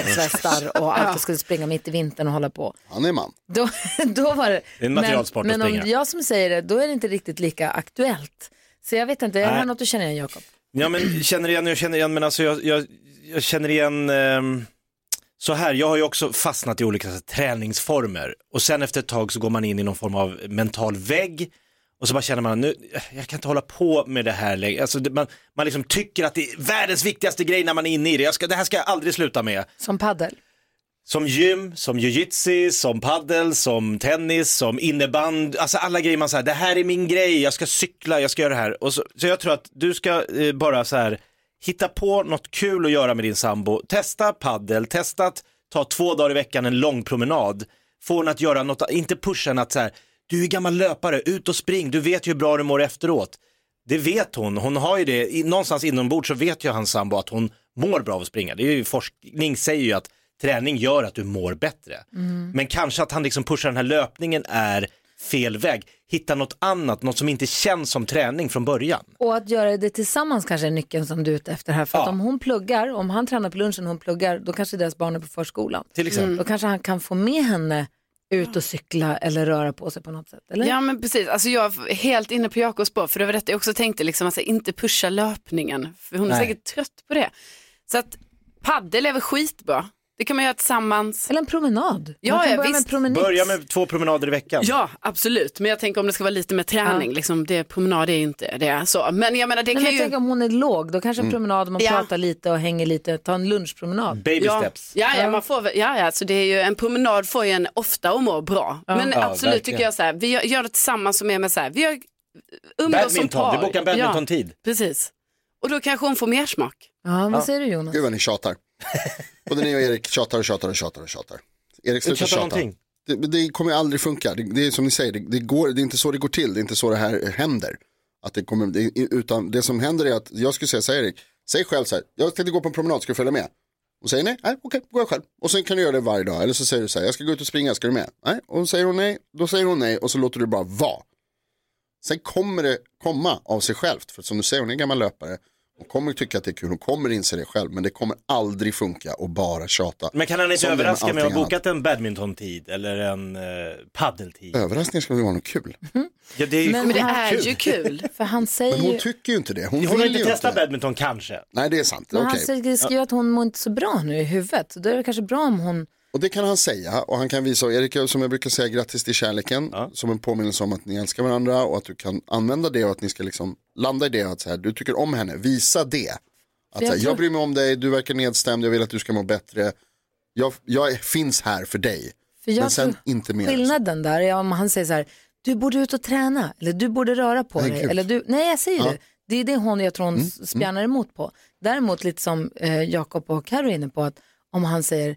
Speaker 1: reflexvästar och allt och skulle springa mitt i vintern och hålla på.
Speaker 4: Han är man.
Speaker 1: Då, då var det,
Speaker 5: är en materialsport
Speaker 1: men,
Speaker 5: att
Speaker 1: men om
Speaker 5: springa.
Speaker 1: jag som säger det, då är det inte riktigt lika aktuellt. Så jag vet inte, är det här något du känner igen Jakob?
Speaker 5: Ja men känner igen, jag känner igen, men alltså jag, jag, jag känner igen ehm, så här, jag har ju också fastnat i olika så här, träningsformer och sen efter ett tag så går man in i någon form av mental vägg och så bara känner man, nu, jag kan inte hålla på med det här längre. Alltså, det, man, man liksom tycker att det är världens viktigaste grej när man är inne i det. Jag ska, det här ska jag aldrig sluta med.
Speaker 1: Som paddel?
Speaker 5: Som gym, som jujitsu, som paddel, som tennis, som inneband. Alltså alla grejer man säger, det här är min grej, jag ska cykla, jag ska göra det här. Och så, så jag tror att du ska eh, bara så här, hitta på något kul att göra med din sambo. Testa paddel, testa att ta två dagar i veckan en lång promenad. Få henne att göra något, inte pusha henne att så här, du är gammal löpare, ut och spring, du vet ju hur bra du mår efteråt. Det vet hon, hon har ju det, I- någonstans inombords så vet ju hans sambo att hon mår bra av att springa. Det är ju, forskning säger ju att träning gör att du mår bättre. Men kanske att han liksom pushar den här löpningen är fel väg. Hitta något annat, något som inte känns som träning från början.
Speaker 1: Och att göra det tillsammans kanske är nyckeln som du är ute efter här. För att
Speaker 5: Ja.
Speaker 1: om hon pluggar, om han tränar på lunchen och hon pluggar, då kanske deras barn är på förskolan.
Speaker 5: Till
Speaker 3: Mm.
Speaker 5: exempel.
Speaker 1: Då kanske han kan få med henne ut och cykla eller röra på sig på något sätt. Eller?
Speaker 3: Ja men precis, alltså jag är helt inne på Jakobs spår för det var detta jag också tänkte, liksom, alltså, inte pusha löpningen för hon är
Speaker 5: Nej.
Speaker 3: säkert trött på det. Så att paddel är väl skitbra, det kan man göra tillsammans.
Speaker 1: Eller en promenad.
Speaker 3: Ja,
Speaker 1: Man kan
Speaker 3: ja,
Speaker 1: börja med
Speaker 3: visst.
Speaker 1: promenix.
Speaker 5: Börja med två promenader i veckan.
Speaker 3: Ja absolut, men jag tänker om det ska vara lite mer träning, liksom, det, promenad är inte det. Så. Men jag menar det
Speaker 1: Nej,
Speaker 3: kan
Speaker 1: men
Speaker 3: ju...
Speaker 1: tänk om hon är låg, då kanske en promenad, man
Speaker 3: Ja.
Speaker 1: pratar lite och hänger lite, ta en lunchpromenad.
Speaker 5: Baby
Speaker 3: Ja,
Speaker 5: steps.
Speaker 3: ja, ja, man får, väl- ja, ja så det är ju, en promenad får ju en ofta att må bra. Men
Speaker 5: Ja,
Speaker 3: absolut
Speaker 5: verkligen.
Speaker 3: tycker jag så här, vi gör, gör det tillsammans som är med så här, vi gör, umgås som
Speaker 5: Badminton,
Speaker 3: par.
Speaker 5: vi bokar badminton-tid.
Speaker 3: Ja, precis. Och då kanske hon får mer smak.
Speaker 1: Ja, vad säger du Jonas?
Speaker 4: Gud vad ni tjatar. Både ni och Erik tjatar och tjatar och tjatar och tjatar. Erik sluta
Speaker 5: Tjatar
Speaker 4: tjata.
Speaker 5: någonting.
Speaker 4: Det, det kommer ju aldrig funka. Det, det är som ni säger, det, det, går, det är inte så det går till. Det är inte så det här händer. Att det, kommer, det, utan det som händer är att jag skulle säga så här Erik, säg själv så här, jag tänkte gå på en promenad, ska du följa med? Och säger nej, nej okej, går jag själv. Och sen kan du göra det varje dag. Eller så säger du så här, jag ska gå ut och springa, ska du med? Nej, och säger hon nej, då säger hon nej och så låter du bara vara. Sen kommer det komma av sig självt. För som du säger, hon är en gammal löpare. Hon kommer tycka att det är kul, hon kommer inse det själv. Men det kommer aldrig funka att bara tjata.
Speaker 5: Men kan han inte
Speaker 4: Som det med
Speaker 5: överraska med att ha
Speaker 4: allting
Speaker 5: bokat en badminton-tid eller en eh, paddeltid?
Speaker 4: Överraskningar ska väl vara något kul.
Speaker 5: Ja, det är ju
Speaker 1: Men-
Speaker 3: Men det
Speaker 5: skit-
Speaker 3: är
Speaker 5: kul.
Speaker 3: ju kul.
Speaker 1: För han säger
Speaker 4: Men hon
Speaker 1: ju,
Speaker 4: tycker ju inte det. Hon,
Speaker 5: Hon har
Speaker 4: vill
Speaker 5: inte
Speaker 4: ju
Speaker 5: testat
Speaker 4: inte det.
Speaker 5: badminton kanske.
Speaker 4: Nej, det är sant.
Speaker 1: men han
Speaker 4: Okej.
Speaker 1: säger, skriver att hon mår inte så bra nu i huvudet. Så Då är det kanske bra om hon,
Speaker 4: Och det kan han säga och han kan visa, och Erik som jag brukar säga, grattis till kärleken som en påminnelse om att ni älskar varandra och att du kan använda det och att ni ska liksom landa i det och att så här, du tycker om henne, visa det. Att
Speaker 1: jag
Speaker 4: jag, så här,
Speaker 1: tror-
Speaker 4: jag bryr mig om dig, du verkar nedstämd, jag vill att du ska må bättre. Jag, jag finns här för dig,
Speaker 1: för jag
Speaker 4: men sen
Speaker 1: tror
Speaker 4: inte mer. alltså.
Speaker 1: skillnaden där är om han säger så här, du borde ut och träna, eller du borde röra på
Speaker 4: Nej,
Speaker 1: dig,
Speaker 4: gud. Mm,
Speaker 1: eller du, nej jag säger det. Det är det hon, jag tror hon s- spjärnar emot på. Däremot lite som eh, Jakob och Karo är inne på, att om han säger,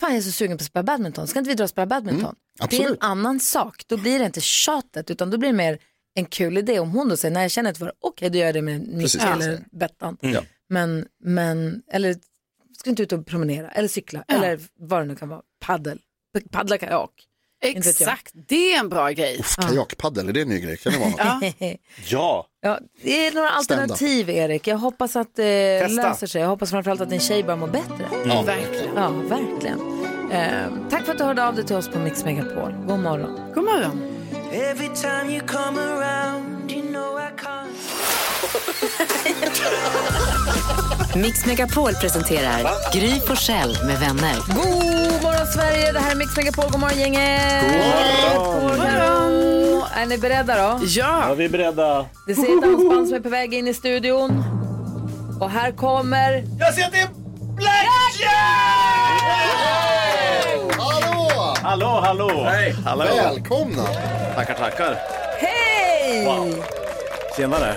Speaker 1: fan jag är så sugen på att spela badminton, ska inte vi dra och spela badminton?
Speaker 4: Mm.
Speaker 1: Det är en
Speaker 4: absolut.
Speaker 1: annan sak, då blir det inte tjatet, utan då blir det mer en kul idé. Om hon då säger, nej jag känner inte för det, okej då gör jag det med Nisse
Speaker 4: Precis, Mm. jag
Speaker 1: eller
Speaker 4: säger.
Speaker 1: Bettan.
Speaker 5: Ja.
Speaker 1: Men, men, eller ska inte ut och promenera, eller cykla, eller vad det nu kan vara, paddel, paddla kajak. vet jag.
Speaker 3: Exakt, det är en bra grej.
Speaker 4: Uff, kajakpaddel, är det en ny grej? Kan det vara något?
Speaker 3: Ja.
Speaker 5: Ja,
Speaker 1: Ja, det är några
Speaker 4: Stand up.
Speaker 1: alternativ Erik. Jag hoppas att det löser sig. Jag hoppas framförallt att din tjej börjar må bättre.
Speaker 4: Ja.
Speaker 3: Verkligen.
Speaker 1: Ja, verkligen. Eh, tack för att du hörde av dig till oss på Mix Megapol. God morgon.
Speaker 3: God morgon.
Speaker 11: Every time you come around, you know I can't.
Speaker 9: Mix Megapol presenterar Gry på Själ med vänner.
Speaker 1: God morgon Sverige, det här är Mix Megapol. God morgon gänget. God morgon. God morgon. Är ni beredda då?
Speaker 3: Ja,
Speaker 5: ja vi är beredda.
Speaker 1: Det ser ett dansband som är på väg in i studion. Och här kommer...
Speaker 5: Jag ser att det är Blackjack!
Speaker 4: Hallå!
Speaker 5: Hallå, hallå! Hej! Hallå!
Speaker 4: Välkomna!
Speaker 5: Tackar, tackar.
Speaker 1: Hej!
Speaker 5: Tjenare.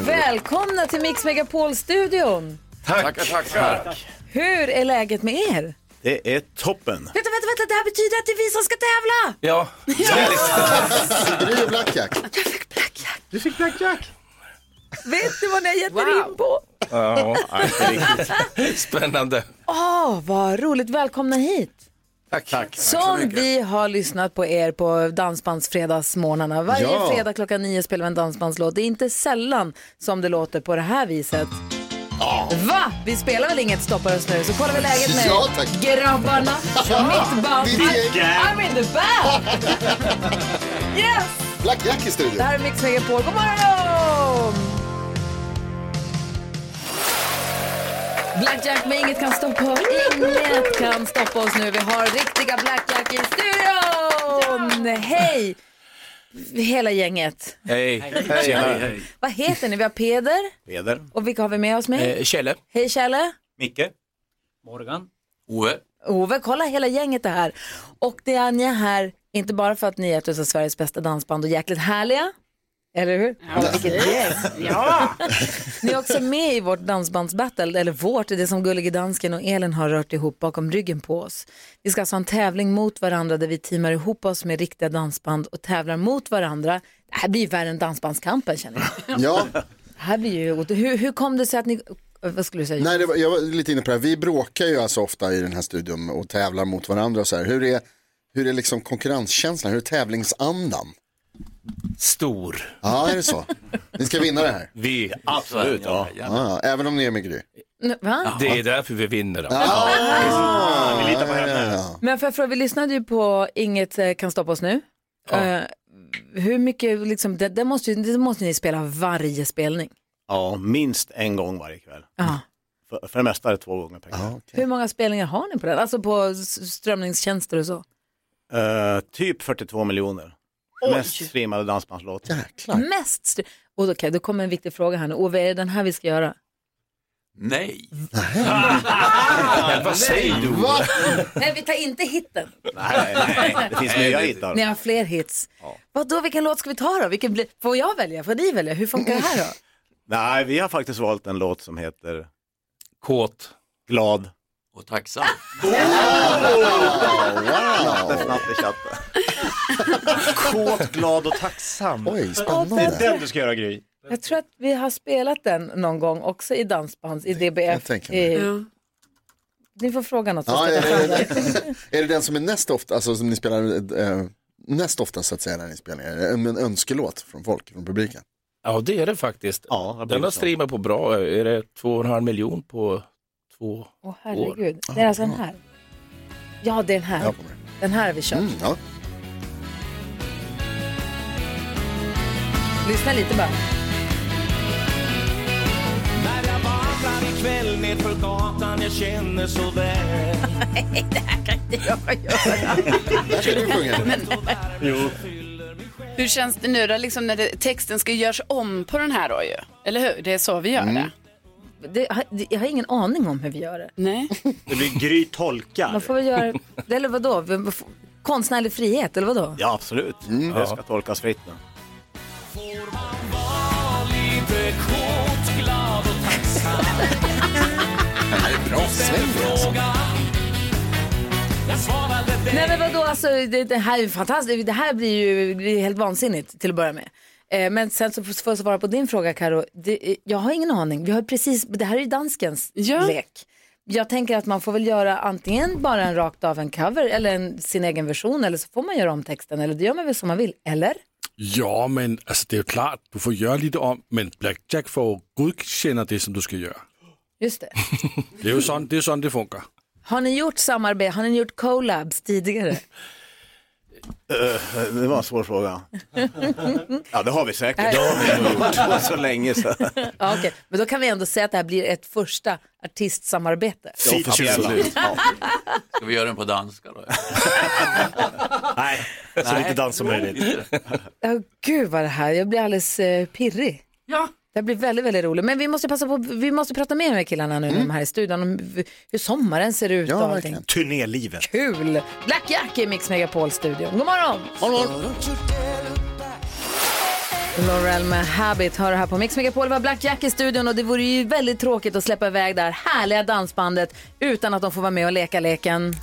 Speaker 1: Välkomna till Mix Megapol-studion.
Speaker 12: Tack. Tackar, tackar.
Speaker 1: Hur är läget med er?
Speaker 13: Det är toppen.
Speaker 1: Vänta, vänta, vänta, det här betyder att det är vi som ska tävla!
Speaker 12: Ja.
Speaker 4: Sugeri och blackjack.
Speaker 1: Vet du vad ni har gett er in på?
Speaker 12: Nej, inte riktigt. Spännande.
Speaker 1: Åh, vad roligt. Välkomna hit.
Speaker 12: Tack. Tack.
Speaker 1: Som vi har lyssnat på er på Dansbandsfredagsmorgnarna. Varje
Speaker 4: Ja.
Speaker 1: fredag klockan nio spelar vi en dansbandslåt. Det är inte sällan som det låter på det här viset. Va? Vi spelar väl inget stoppar oss nu? Så kollar vi läget med
Speaker 4: Ja, tack.
Speaker 1: grabbarna. Mitt band.
Speaker 4: Ditt gäng.
Speaker 1: I'm in the band! yes!
Speaker 4: Black Jack i
Speaker 1: Det
Speaker 4: studion.
Speaker 1: här är Mix Megapol. God morgon! Blackjack med inget kan stoppa oss. Inget kan stoppa oss nu. Vi har riktiga Blackjack i studion! Hej! Hela gänget.
Speaker 14: Hej. Tjena.
Speaker 1: Vad heter ni? Vi har Peder
Speaker 14: Peder.
Speaker 1: och vilka har vi med oss med?
Speaker 14: Eh, Kjelle.
Speaker 1: Hej Kjelle.
Speaker 14: Micke.
Speaker 6: Ove.
Speaker 1: Ove, kolla hela gänget är här. Och det är ni är här, inte bara för att ni är ett av Sveriges bästa dansband och jäkligt härliga, eller hur?
Speaker 3: Ja,
Speaker 1: Ni är också med i vårt dansbandsbattle, eller vårt, det som Gullige Dansken och Elin har rört ihop bakom ryggen på oss. Vi ska alltså ha en tävling mot varandra där vi teamar ihop oss med riktiga dansband och tävlar mot varandra. Det här blir ju värre än dansbandskampen känner jag. Det
Speaker 4: Ja,
Speaker 1: här blir ju, hur, hur kom det sig att ni, vad skulle du säga?
Speaker 4: nej, det var, jag var lite inne på det här. Vi bråkar ju alltså ofta i den här studion och tävlar mot varandra och så här. Hur är, hur är liksom konkurrenskänslan? Hur är tävlingsandan?
Speaker 14: Stor.
Speaker 4: Ja, är det så? Ni ska vinna det här.
Speaker 14: Vi, absolut. Ja.
Speaker 4: Ja, även om ni är med Gry.
Speaker 1: Nu, Va?
Speaker 14: Det är därför vi vinner. då.
Speaker 4: Ah, vi litar på
Speaker 1: Men för jag fråga, vi lyssnade ju på Inget eh, kan stoppa oss nu. Eh, hur mycket, liksom, det, det, måste, ju- det måste ni spela varje spelning.
Speaker 12: Ja, minst en gång varje kväll.
Speaker 4: Mm.
Speaker 1: Ja.
Speaker 12: För, för det mesta är det två gånger per kväll.
Speaker 1: Hur många spelningar har ni på den? Alltså på s- strömningstjänster och så.
Speaker 12: Eh, typ 42 miljoner. Mest streamade dansbandslåt.
Speaker 4: Jäklar.
Speaker 1: Mest str- och då, okay, då kommer en viktig fråga här nu. Ove, är det den här vi ska göra?
Speaker 14: Nej.
Speaker 6: Vad säger du?
Speaker 4: Va?
Speaker 1: Nej, vi tar inte hitten.
Speaker 12: Nej, nej, det finns nya hittar.
Speaker 1: Ni har fler hits. Vadå, vilken låt ska vi ta då? Vilken blir- får jag välja? Får ni välja? Hur funkar det här då?
Speaker 4: Mm.
Speaker 12: Nej, vi har faktiskt valt en låt som heter
Speaker 14: Kåt
Speaker 12: Glad.
Speaker 14: och tacksam.
Speaker 12: Knatte, fnatte, tjatte.
Speaker 8: Kåt, glad och tacksam.
Speaker 4: Oj,
Speaker 8: Det är
Speaker 4: spännande.
Speaker 8: den du ska göra Gry.
Speaker 1: Jag tror att vi har spelat den någon gång också i dansbands, i
Speaker 4: jag
Speaker 1: DBF.
Speaker 4: tänker
Speaker 1: I... Ni får fråga något. så
Speaker 4: Ja,
Speaker 1: ska jag ta
Speaker 4: är,
Speaker 1: fram
Speaker 4: det,
Speaker 1: det.
Speaker 4: är det den som är näst ofta, alltså som ni spelar eh, näst ofta så att säga när ni spelar? Är det En, en önskelåt från folk, från publiken?
Speaker 14: Ja, det är det faktiskt.
Speaker 12: Ja, det
Speaker 14: Den
Speaker 12: blir
Speaker 14: har
Speaker 12: så.
Speaker 14: streamat på bra, är det 2,5 miljon på två?
Speaker 1: Åh herregud, det är alltså den här. Ja, det är den här.
Speaker 4: Ja, kommer det.
Speaker 1: Den här har vi kört.
Speaker 4: Mm, ja.
Speaker 1: Lyssna lite bara.
Speaker 9: När jag vandrar ikväll nedför gatan jag känner så väl
Speaker 4: Där ska du sjunga.
Speaker 3: hur känns det nu då, liksom när det, texten ska göras om på den här då ju? Eller hur? Det är så vi gör
Speaker 5: Mm.
Speaker 3: det.
Speaker 1: Det, det- jag har ingen aning om hur vi gör det.
Speaker 3: Nej.
Speaker 8: Det blir Gry tolkar.
Speaker 1: Man får väl göra, eller vadå, Vi- vi får- konstnärlig frihet eller vadå?
Speaker 12: Ja, absolut. Mm. Det ska tolkas fritt nu.
Speaker 1: Nej men vadå, alltså, det, det här är ju fantastiskt, det här blir ju det är helt vansinnigt till att börja med. Eh, men sen så får får jag svara på din fråga Karo. Det, eh, jag har ingen aning, vi har precis, det här är ju danskens
Speaker 3: Ja.
Speaker 1: lek. Jag tänker att man får väl göra antingen bara en rakt av en cover eller en, sin egen version eller så får man göra om texten eller det gör man väl som man vill, eller?
Speaker 6: Ja, men altså, det er jo klart, du får gøre lidt om, men Blackjack får jo godkender det, som du skal gøre.
Speaker 1: Just det.
Speaker 6: Det er jo sådan, det, er sådan, det fungerer.
Speaker 1: Har ni gjort samarbete, har ni gjort collabs tidigare?
Speaker 12: Eh, Det var en svår fråga. Ja, det har vi säkert. Det har vi nog gjort. Det var så länge sedan.
Speaker 1: Ja, okej. Men då kan vi ändå säga att det här blir ett första artistsamarbete.
Speaker 12: Absolut. Ja.
Speaker 14: Ska vi göra den på danska då?
Speaker 8: Nej, så lite dans som möjligt.
Speaker 1: Ja, gud vad det här, jag blir alldeles eh, pirrig.
Speaker 3: Ja.
Speaker 1: Det här blir väldigt, väldigt roligt. Men vi måste passa på, vi måste prata mer med killarna nu när de är här i studion om v- hur sommaren ser ut
Speaker 4: Mm.
Speaker 1: och
Speaker 4: Ja,
Speaker 1: allting.
Speaker 4: verkligen.
Speaker 8: Turnélivet.
Speaker 1: Kul! Black Jack i Mix Megapol-studion. God morgon! Laurel med Habit hör här på Mix Megapol. Det var Black Jack i studion och det vore ju väldigt tråkigt att släppa iväg det här härliga dansbandet utan att de får vara med och leka leken.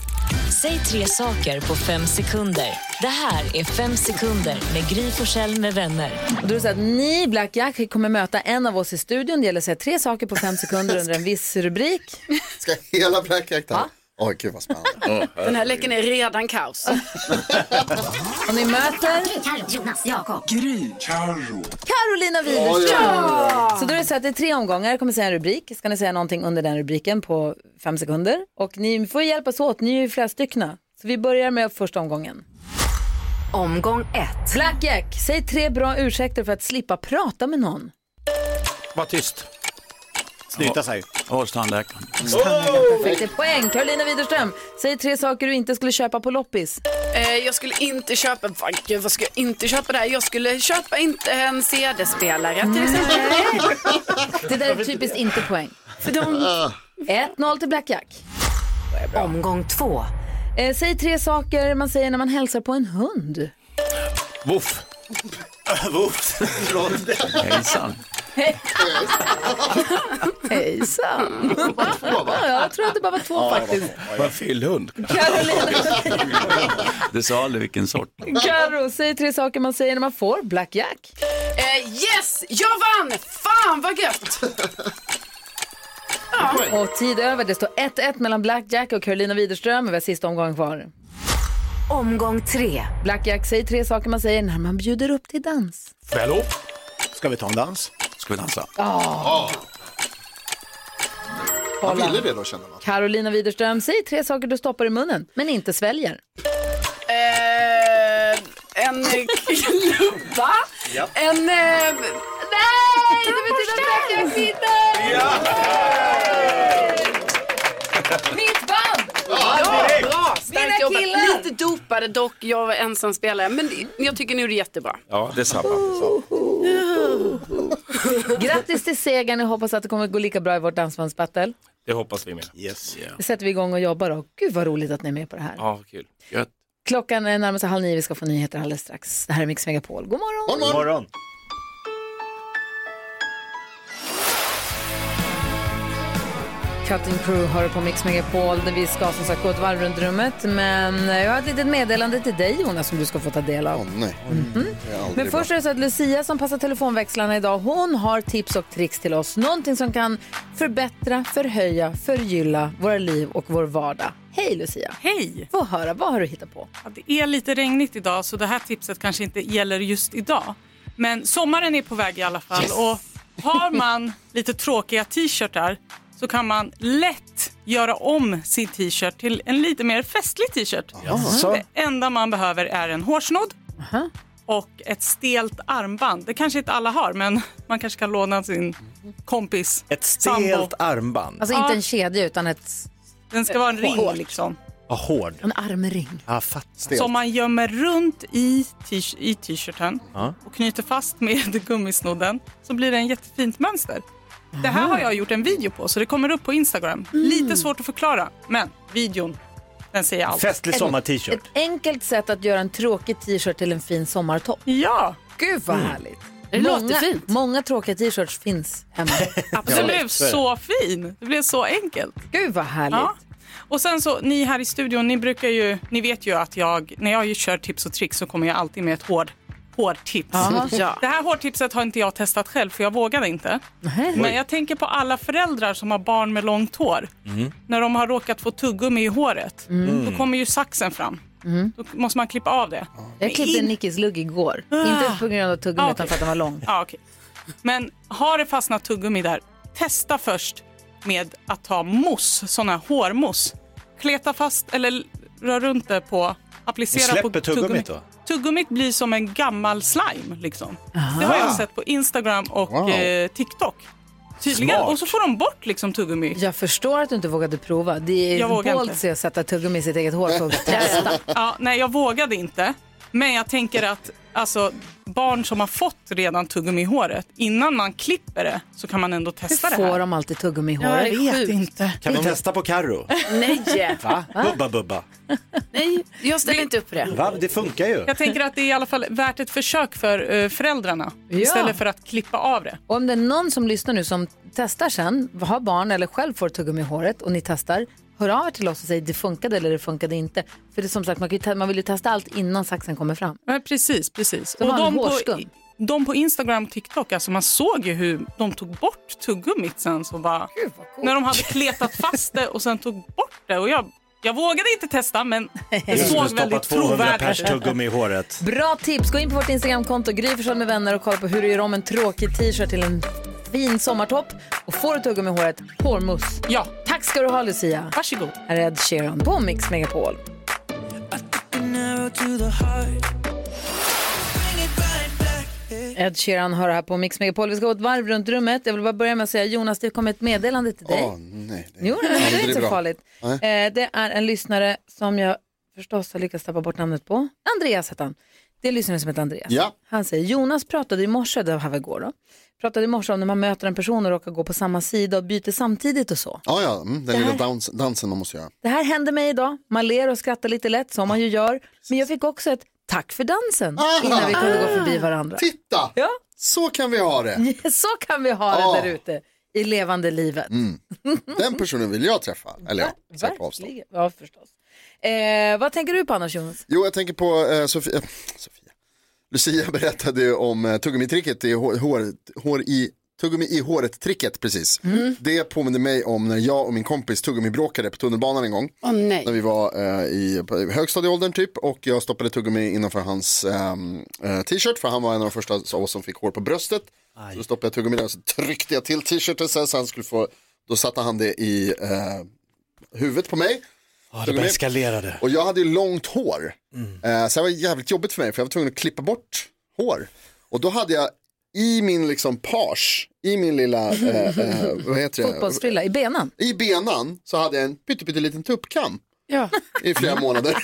Speaker 2: Säg tre saker på fem sekunder. Det här är Fem sekunder med Gry Forssell med vänner.
Speaker 1: Och Då är det så att ni, Black Jack, kommer möta en av oss i studion. Det gäller att säga tre saker på fem sekunder under en viss rubrik.
Speaker 4: Ska hela Black Jack ta? Oj, gud vad spännande.
Speaker 3: Den här leken är redan kaos.
Speaker 1: Och ni möter?
Speaker 2: Jonas, Jakob.
Speaker 1: Gry. Carolina Widerström.
Speaker 2: Ja,
Speaker 1: Så då är det så att det är tre omgångar. Jag kommer säga en rubrik. Ska ni säga någonting under den rubriken på fem sekunder? Och ni får hjälpas åt. Ni är ju flera styckna. Så vi börjar med första omgången.
Speaker 2: Omgång ett.
Speaker 1: Blackjack, säg tre bra ursäkter för att slippa prata med någon.
Speaker 6: Var tyst.
Speaker 12: Snyta sig.
Speaker 6: Håll tandläkaren.
Speaker 1: Perfekt, det är poäng. Carolina Widerström, säg tre saker du inte skulle köpa på loppis.
Speaker 3: Eh, jag skulle inte köpa, vad, gud, vad ska jag inte köpa där? Jag skulle köpa inte en CD-spelare till exempel.
Speaker 1: Det där är typiskt inte poäng.
Speaker 3: För de...
Speaker 1: 1-0 till Blackjack.
Speaker 2: Omgång två.
Speaker 1: Eh, säg tre saker man säger när man hälsar på en hund.
Speaker 6: Woof. Woof. Förlåt. Hejsan.
Speaker 1: Hejsan. ja, jag tror att det bara var två faktiskt.
Speaker 12: Vad fyllhund.
Speaker 15: Du sa aldrig vilken sort.
Speaker 1: Karo, säg tre saker man säger när man får Blackjack.
Speaker 3: Eh, yes, jag vann! Fan vad gött!
Speaker 1: Och tid över, det står 1-1 mellan Blackjack och Carolina Widerström. Vi har sista omgången kvar.
Speaker 2: Omgång tre.
Speaker 1: Blackjack, säg tre saker man säger när man bjuder upp till dans.
Speaker 12: Får jag lov? Ska vi ta en dans? Ska vi dansa?
Speaker 1: Oh.
Speaker 4: Man ville det då känner man.
Speaker 1: Carolina Widerström, säg tre saker du stoppar i munnen, men inte sväljer.
Speaker 3: Eh, en eh, klubba. En... Eh, nej, det betyder att jag vinner!
Speaker 1: Mitt band!
Speaker 3: Ja,
Speaker 1: direkt.
Speaker 3: bra!
Speaker 1: Mina
Speaker 3: Starkt jobbat.
Speaker 1: killar.
Speaker 3: Lite dopade dock, jag var ensam spelare. Men det- jag tycker nu det är jättebra.
Speaker 12: Ja, detsamma.
Speaker 1: Grattis till segern, jag hoppas att det kommer att gå lika bra i vårt dansbandsbattle.
Speaker 14: Det hoppas vi med.
Speaker 12: Yes.
Speaker 1: Nu sätter vi igång och jobbar då. Gud vad roligt att ni är med på det här.
Speaker 14: Ja, kul.
Speaker 12: Gött.
Speaker 1: Klockan är närmare sig halv nio, vi ska få nyheter alldeles strax. Det här är Mix Megapol, god morgon!
Speaker 5: God morgon.
Speaker 1: Cutting Crew hör på Mix Megapol där vi ska som sagt gå ett varv runt rummet. Men eh, jag har ett litet meddelande till dig Jonas som du ska få ta del av.
Speaker 4: Nej. Det är aldrig
Speaker 1: Men först är det så att Lucia som passar telefonväxlarna idag, hon har tips och tricks till oss. Någonting som kan förbättra, förhöja, förgylla våra liv och vår vardag. Hej Lucia!
Speaker 16: Hej!
Speaker 1: Få höra, vad har du hittat på?
Speaker 16: Ja, Det är lite regnigt idag så det här tipset kanske inte gäller just idag. Men sommaren är på väg i alla fall och har man lite tråkiga t-shirtar så kan man lätt göra om sin t-shirt till en lite mer festlig t-shirt. Mm.
Speaker 17: Jaså?
Speaker 16: Det enda man behöver är en hårsnodd och ett stelt armband. Det kanske inte alla har men man kanske kan låna sin kompis. Ett
Speaker 5: Stelt armband.
Speaker 1: Alltså inte en kedja utan ett...
Speaker 16: Den ska vara en ring
Speaker 1: Hårt.
Speaker 16: liksom.
Speaker 5: Vad hård.
Speaker 1: En armring.
Speaker 5: Ja, fattar.
Speaker 16: Som man gömmer runt i t- i t-shirten
Speaker 5: Ja.
Speaker 16: och knyter fast med gummisnodden så blir det en jättefint mönster. Det här har jag gjort en video på så det kommer upp på Instagram. Lite svårt att förklara men videon den säger allt.
Speaker 1: Ett-
Speaker 16: Typ.
Speaker 1: Ett enkelt sätt att göra en tråkig t-shirt till en fin sommartopp.
Speaker 16: Ja!
Speaker 1: Gud vad
Speaker 16: Mm.
Speaker 1: härligt.
Speaker 16: Det
Speaker 1: många,
Speaker 16: låter fint.
Speaker 1: Många tråkiga t-shirts finns hemma.
Speaker 16: Så alltså, det blev så fin. Det blev så enkelt.
Speaker 1: Gud vad härligt.
Speaker 16: Och sen så, ni här i studion, ni brukar ju, ni vet ju att jag, när jag ju kör tips och tricks så kommer jag alltid med ett hård, hårdtips.
Speaker 1: Ja. Ja.
Speaker 16: Det här hårdtipset har inte jag testat själv för jag vågade inte. Men jag tänker på alla föräldrar som har barn med långt hår. När de har råkat få tuggummi i håret,
Speaker 1: Mm.
Speaker 16: då kommer ju saxen fram.
Speaker 1: Mm.
Speaker 16: Då måste man klippa av det.
Speaker 1: Jag klippte Nickis lugg igår. Inte på grund av tuggummi
Speaker 16: Ah,
Speaker 1: utan
Speaker 16: okej.
Speaker 1: för att den var lång.
Speaker 16: Ja, okej. Men har det fastnat tuggummi där, testa först med att ta mousse, sån här hårmousse. Kleta fast eller rör runt det på,
Speaker 5: Och
Speaker 16: applicera
Speaker 5: släpper
Speaker 16: på
Speaker 5: tuggummit då?
Speaker 16: Tuggummit blir som en gammal slime liksom. Det har jag sett på Instagram och
Speaker 1: Wow.
Speaker 16: eh, TikTok. Tydligen.
Speaker 1: Smart.
Speaker 16: Och så får de bort liksom tuggummi.
Speaker 1: Jag förstår att du inte vågade prova. Det
Speaker 16: Jag
Speaker 1: är
Speaker 16: vågar
Speaker 1: bold att sätta tuggummi i sitt eget hår. Så testa.
Speaker 16: Ja, nej, jag vågade inte. Men jag tänker att alltså, barn som har fått redan tuggummi i håret, innan man klipper det så kan man ändå testa
Speaker 1: Hur
Speaker 16: det
Speaker 1: får
Speaker 16: här.
Speaker 1: de alltid tuggummi i
Speaker 16: Ja,
Speaker 1: håret?
Speaker 16: jag vet inte.
Speaker 5: Kan vi testa på Carro?
Speaker 3: Nej.
Speaker 5: Va? Bubba Bubba.
Speaker 3: Nej, jag ställer inte upp på det.
Speaker 5: Va? Det funkar ju.
Speaker 16: Jag tänker att det är i alla fall värt ett försök för eh, föräldrarna
Speaker 1: Ja.
Speaker 16: istället för att klippa av det.
Speaker 1: Och om det är någon som lyssnar nu som testar sen, har barn eller själv får tuggummi i håret och ni testar, hör av er till oss och säg det funkade eller det funkade inte. För det är som sagt, man, kan ju te- man vill ju testa allt innan saxen kommer fram.
Speaker 16: Ja, precis, precis.
Speaker 1: Det var en
Speaker 16: på,
Speaker 1: hårskum.
Speaker 16: de på Instagram och TikTok, alltså man såg ju hur de tog bort tuggummit sen. Så bara, när de hade kletat fast det och sen tog bort det. Och jag Jag vågade inte testa, men det
Speaker 5: Du skulle
Speaker 16: såg
Speaker 5: stoppa
Speaker 16: väldigt
Speaker 5: 200 pers
Speaker 16: trovärdigt ut.
Speaker 5: tuggummi i håret.
Speaker 1: Bra tips! Gå in på vårt Instagramkonto, Gry Forssell med vänner och kolla på hur du gör om en tråkig t-shirt till en fin sommartopp. Och får du tuggummi i håret, hårmousse.
Speaker 16: Ja.
Speaker 1: Tack ska du ha Lucia.
Speaker 16: Varsågod.
Speaker 1: Här är Ed Sheeran på Mix Megapol. Ed Sheeran hör här på Mix Megapol. Vi ska gå ett varv runt rummet. Jag vill bara börja med att säga Jonas, det kom ett meddelande till dig.
Speaker 4: Åh, nej.
Speaker 1: Jo, det är
Speaker 4: Aldrig
Speaker 1: inte så
Speaker 4: bra.
Speaker 1: farligt.
Speaker 4: Nej.
Speaker 1: Eh, det är en lyssnare som jag förstås har lyckats tappa bort namnet på. Andreas heter han. Det är en lyssnare som heter Andreas.
Speaker 4: Ja.
Speaker 1: Han säger, Jonas pratade i morse, det här var igår då, pratade i morse om när man möter en person och råkar gå på samma sida och byter samtidigt och så.
Speaker 4: Ja, ja, mm,
Speaker 1: Det
Speaker 4: den lilla
Speaker 1: här-
Speaker 4: dans, dansen man måste göra.
Speaker 1: Det här hände mig idag, man ler och skrattar lite lätt som man ju gör, men jag fick också ett tack för dansen innan vi kunde gå förbi varandra.
Speaker 4: Titta,
Speaker 1: ja.
Speaker 4: så kan vi ha det.
Speaker 1: Så kan vi ha det
Speaker 4: Ah.
Speaker 1: där ute i levande livet.
Speaker 4: Mm. Den personen vill jag träffa. Eller ja, sett på avstånd.
Speaker 1: Verkligen, ja förstås. Eh, vad tänker du på annars Jonas?
Speaker 4: Jo, jag tänker på eh, Sofia. Sofia. Lucia berättade ju om eh, tuggummitricket i hår, hår, hår i tuggummi i håret-tricket precis.
Speaker 3: Mm.
Speaker 4: Det påminner mig om när jag och min kompis tuggummibråkade på tunnelbanan en gång.
Speaker 3: Åh nej.
Speaker 4: När vi var eh, i på högstadieåldern typ och jag stoppade tuggummi innanför hans ehm, eh, t-shirt för han var en av de första av oss som fick hår på bröstet. Så stoppade jag tuggummi där och så tryckte jag till t-shirten så här så han skulle få, då satte han det i eh, huvudet på mig.
Speaker 5: det bara
Speaker 4: Tuggummi.
Speaker 5: eskalerade.
Speaker 4: Och jag hade ju långt hår. Eh, så det var jävligt jobbigt för mig för jag var tvungen att klippa bort hår. Och då hade jag i min liksom page, i min lilla, eh, eh, vad heter det?
Speaker 1: Fotbollsfrilla i benan.
Speaker 4: I benan så hade jag en pytteliten tuppkam
Speaker 3: Ja.
Speaker 4: i flera månader.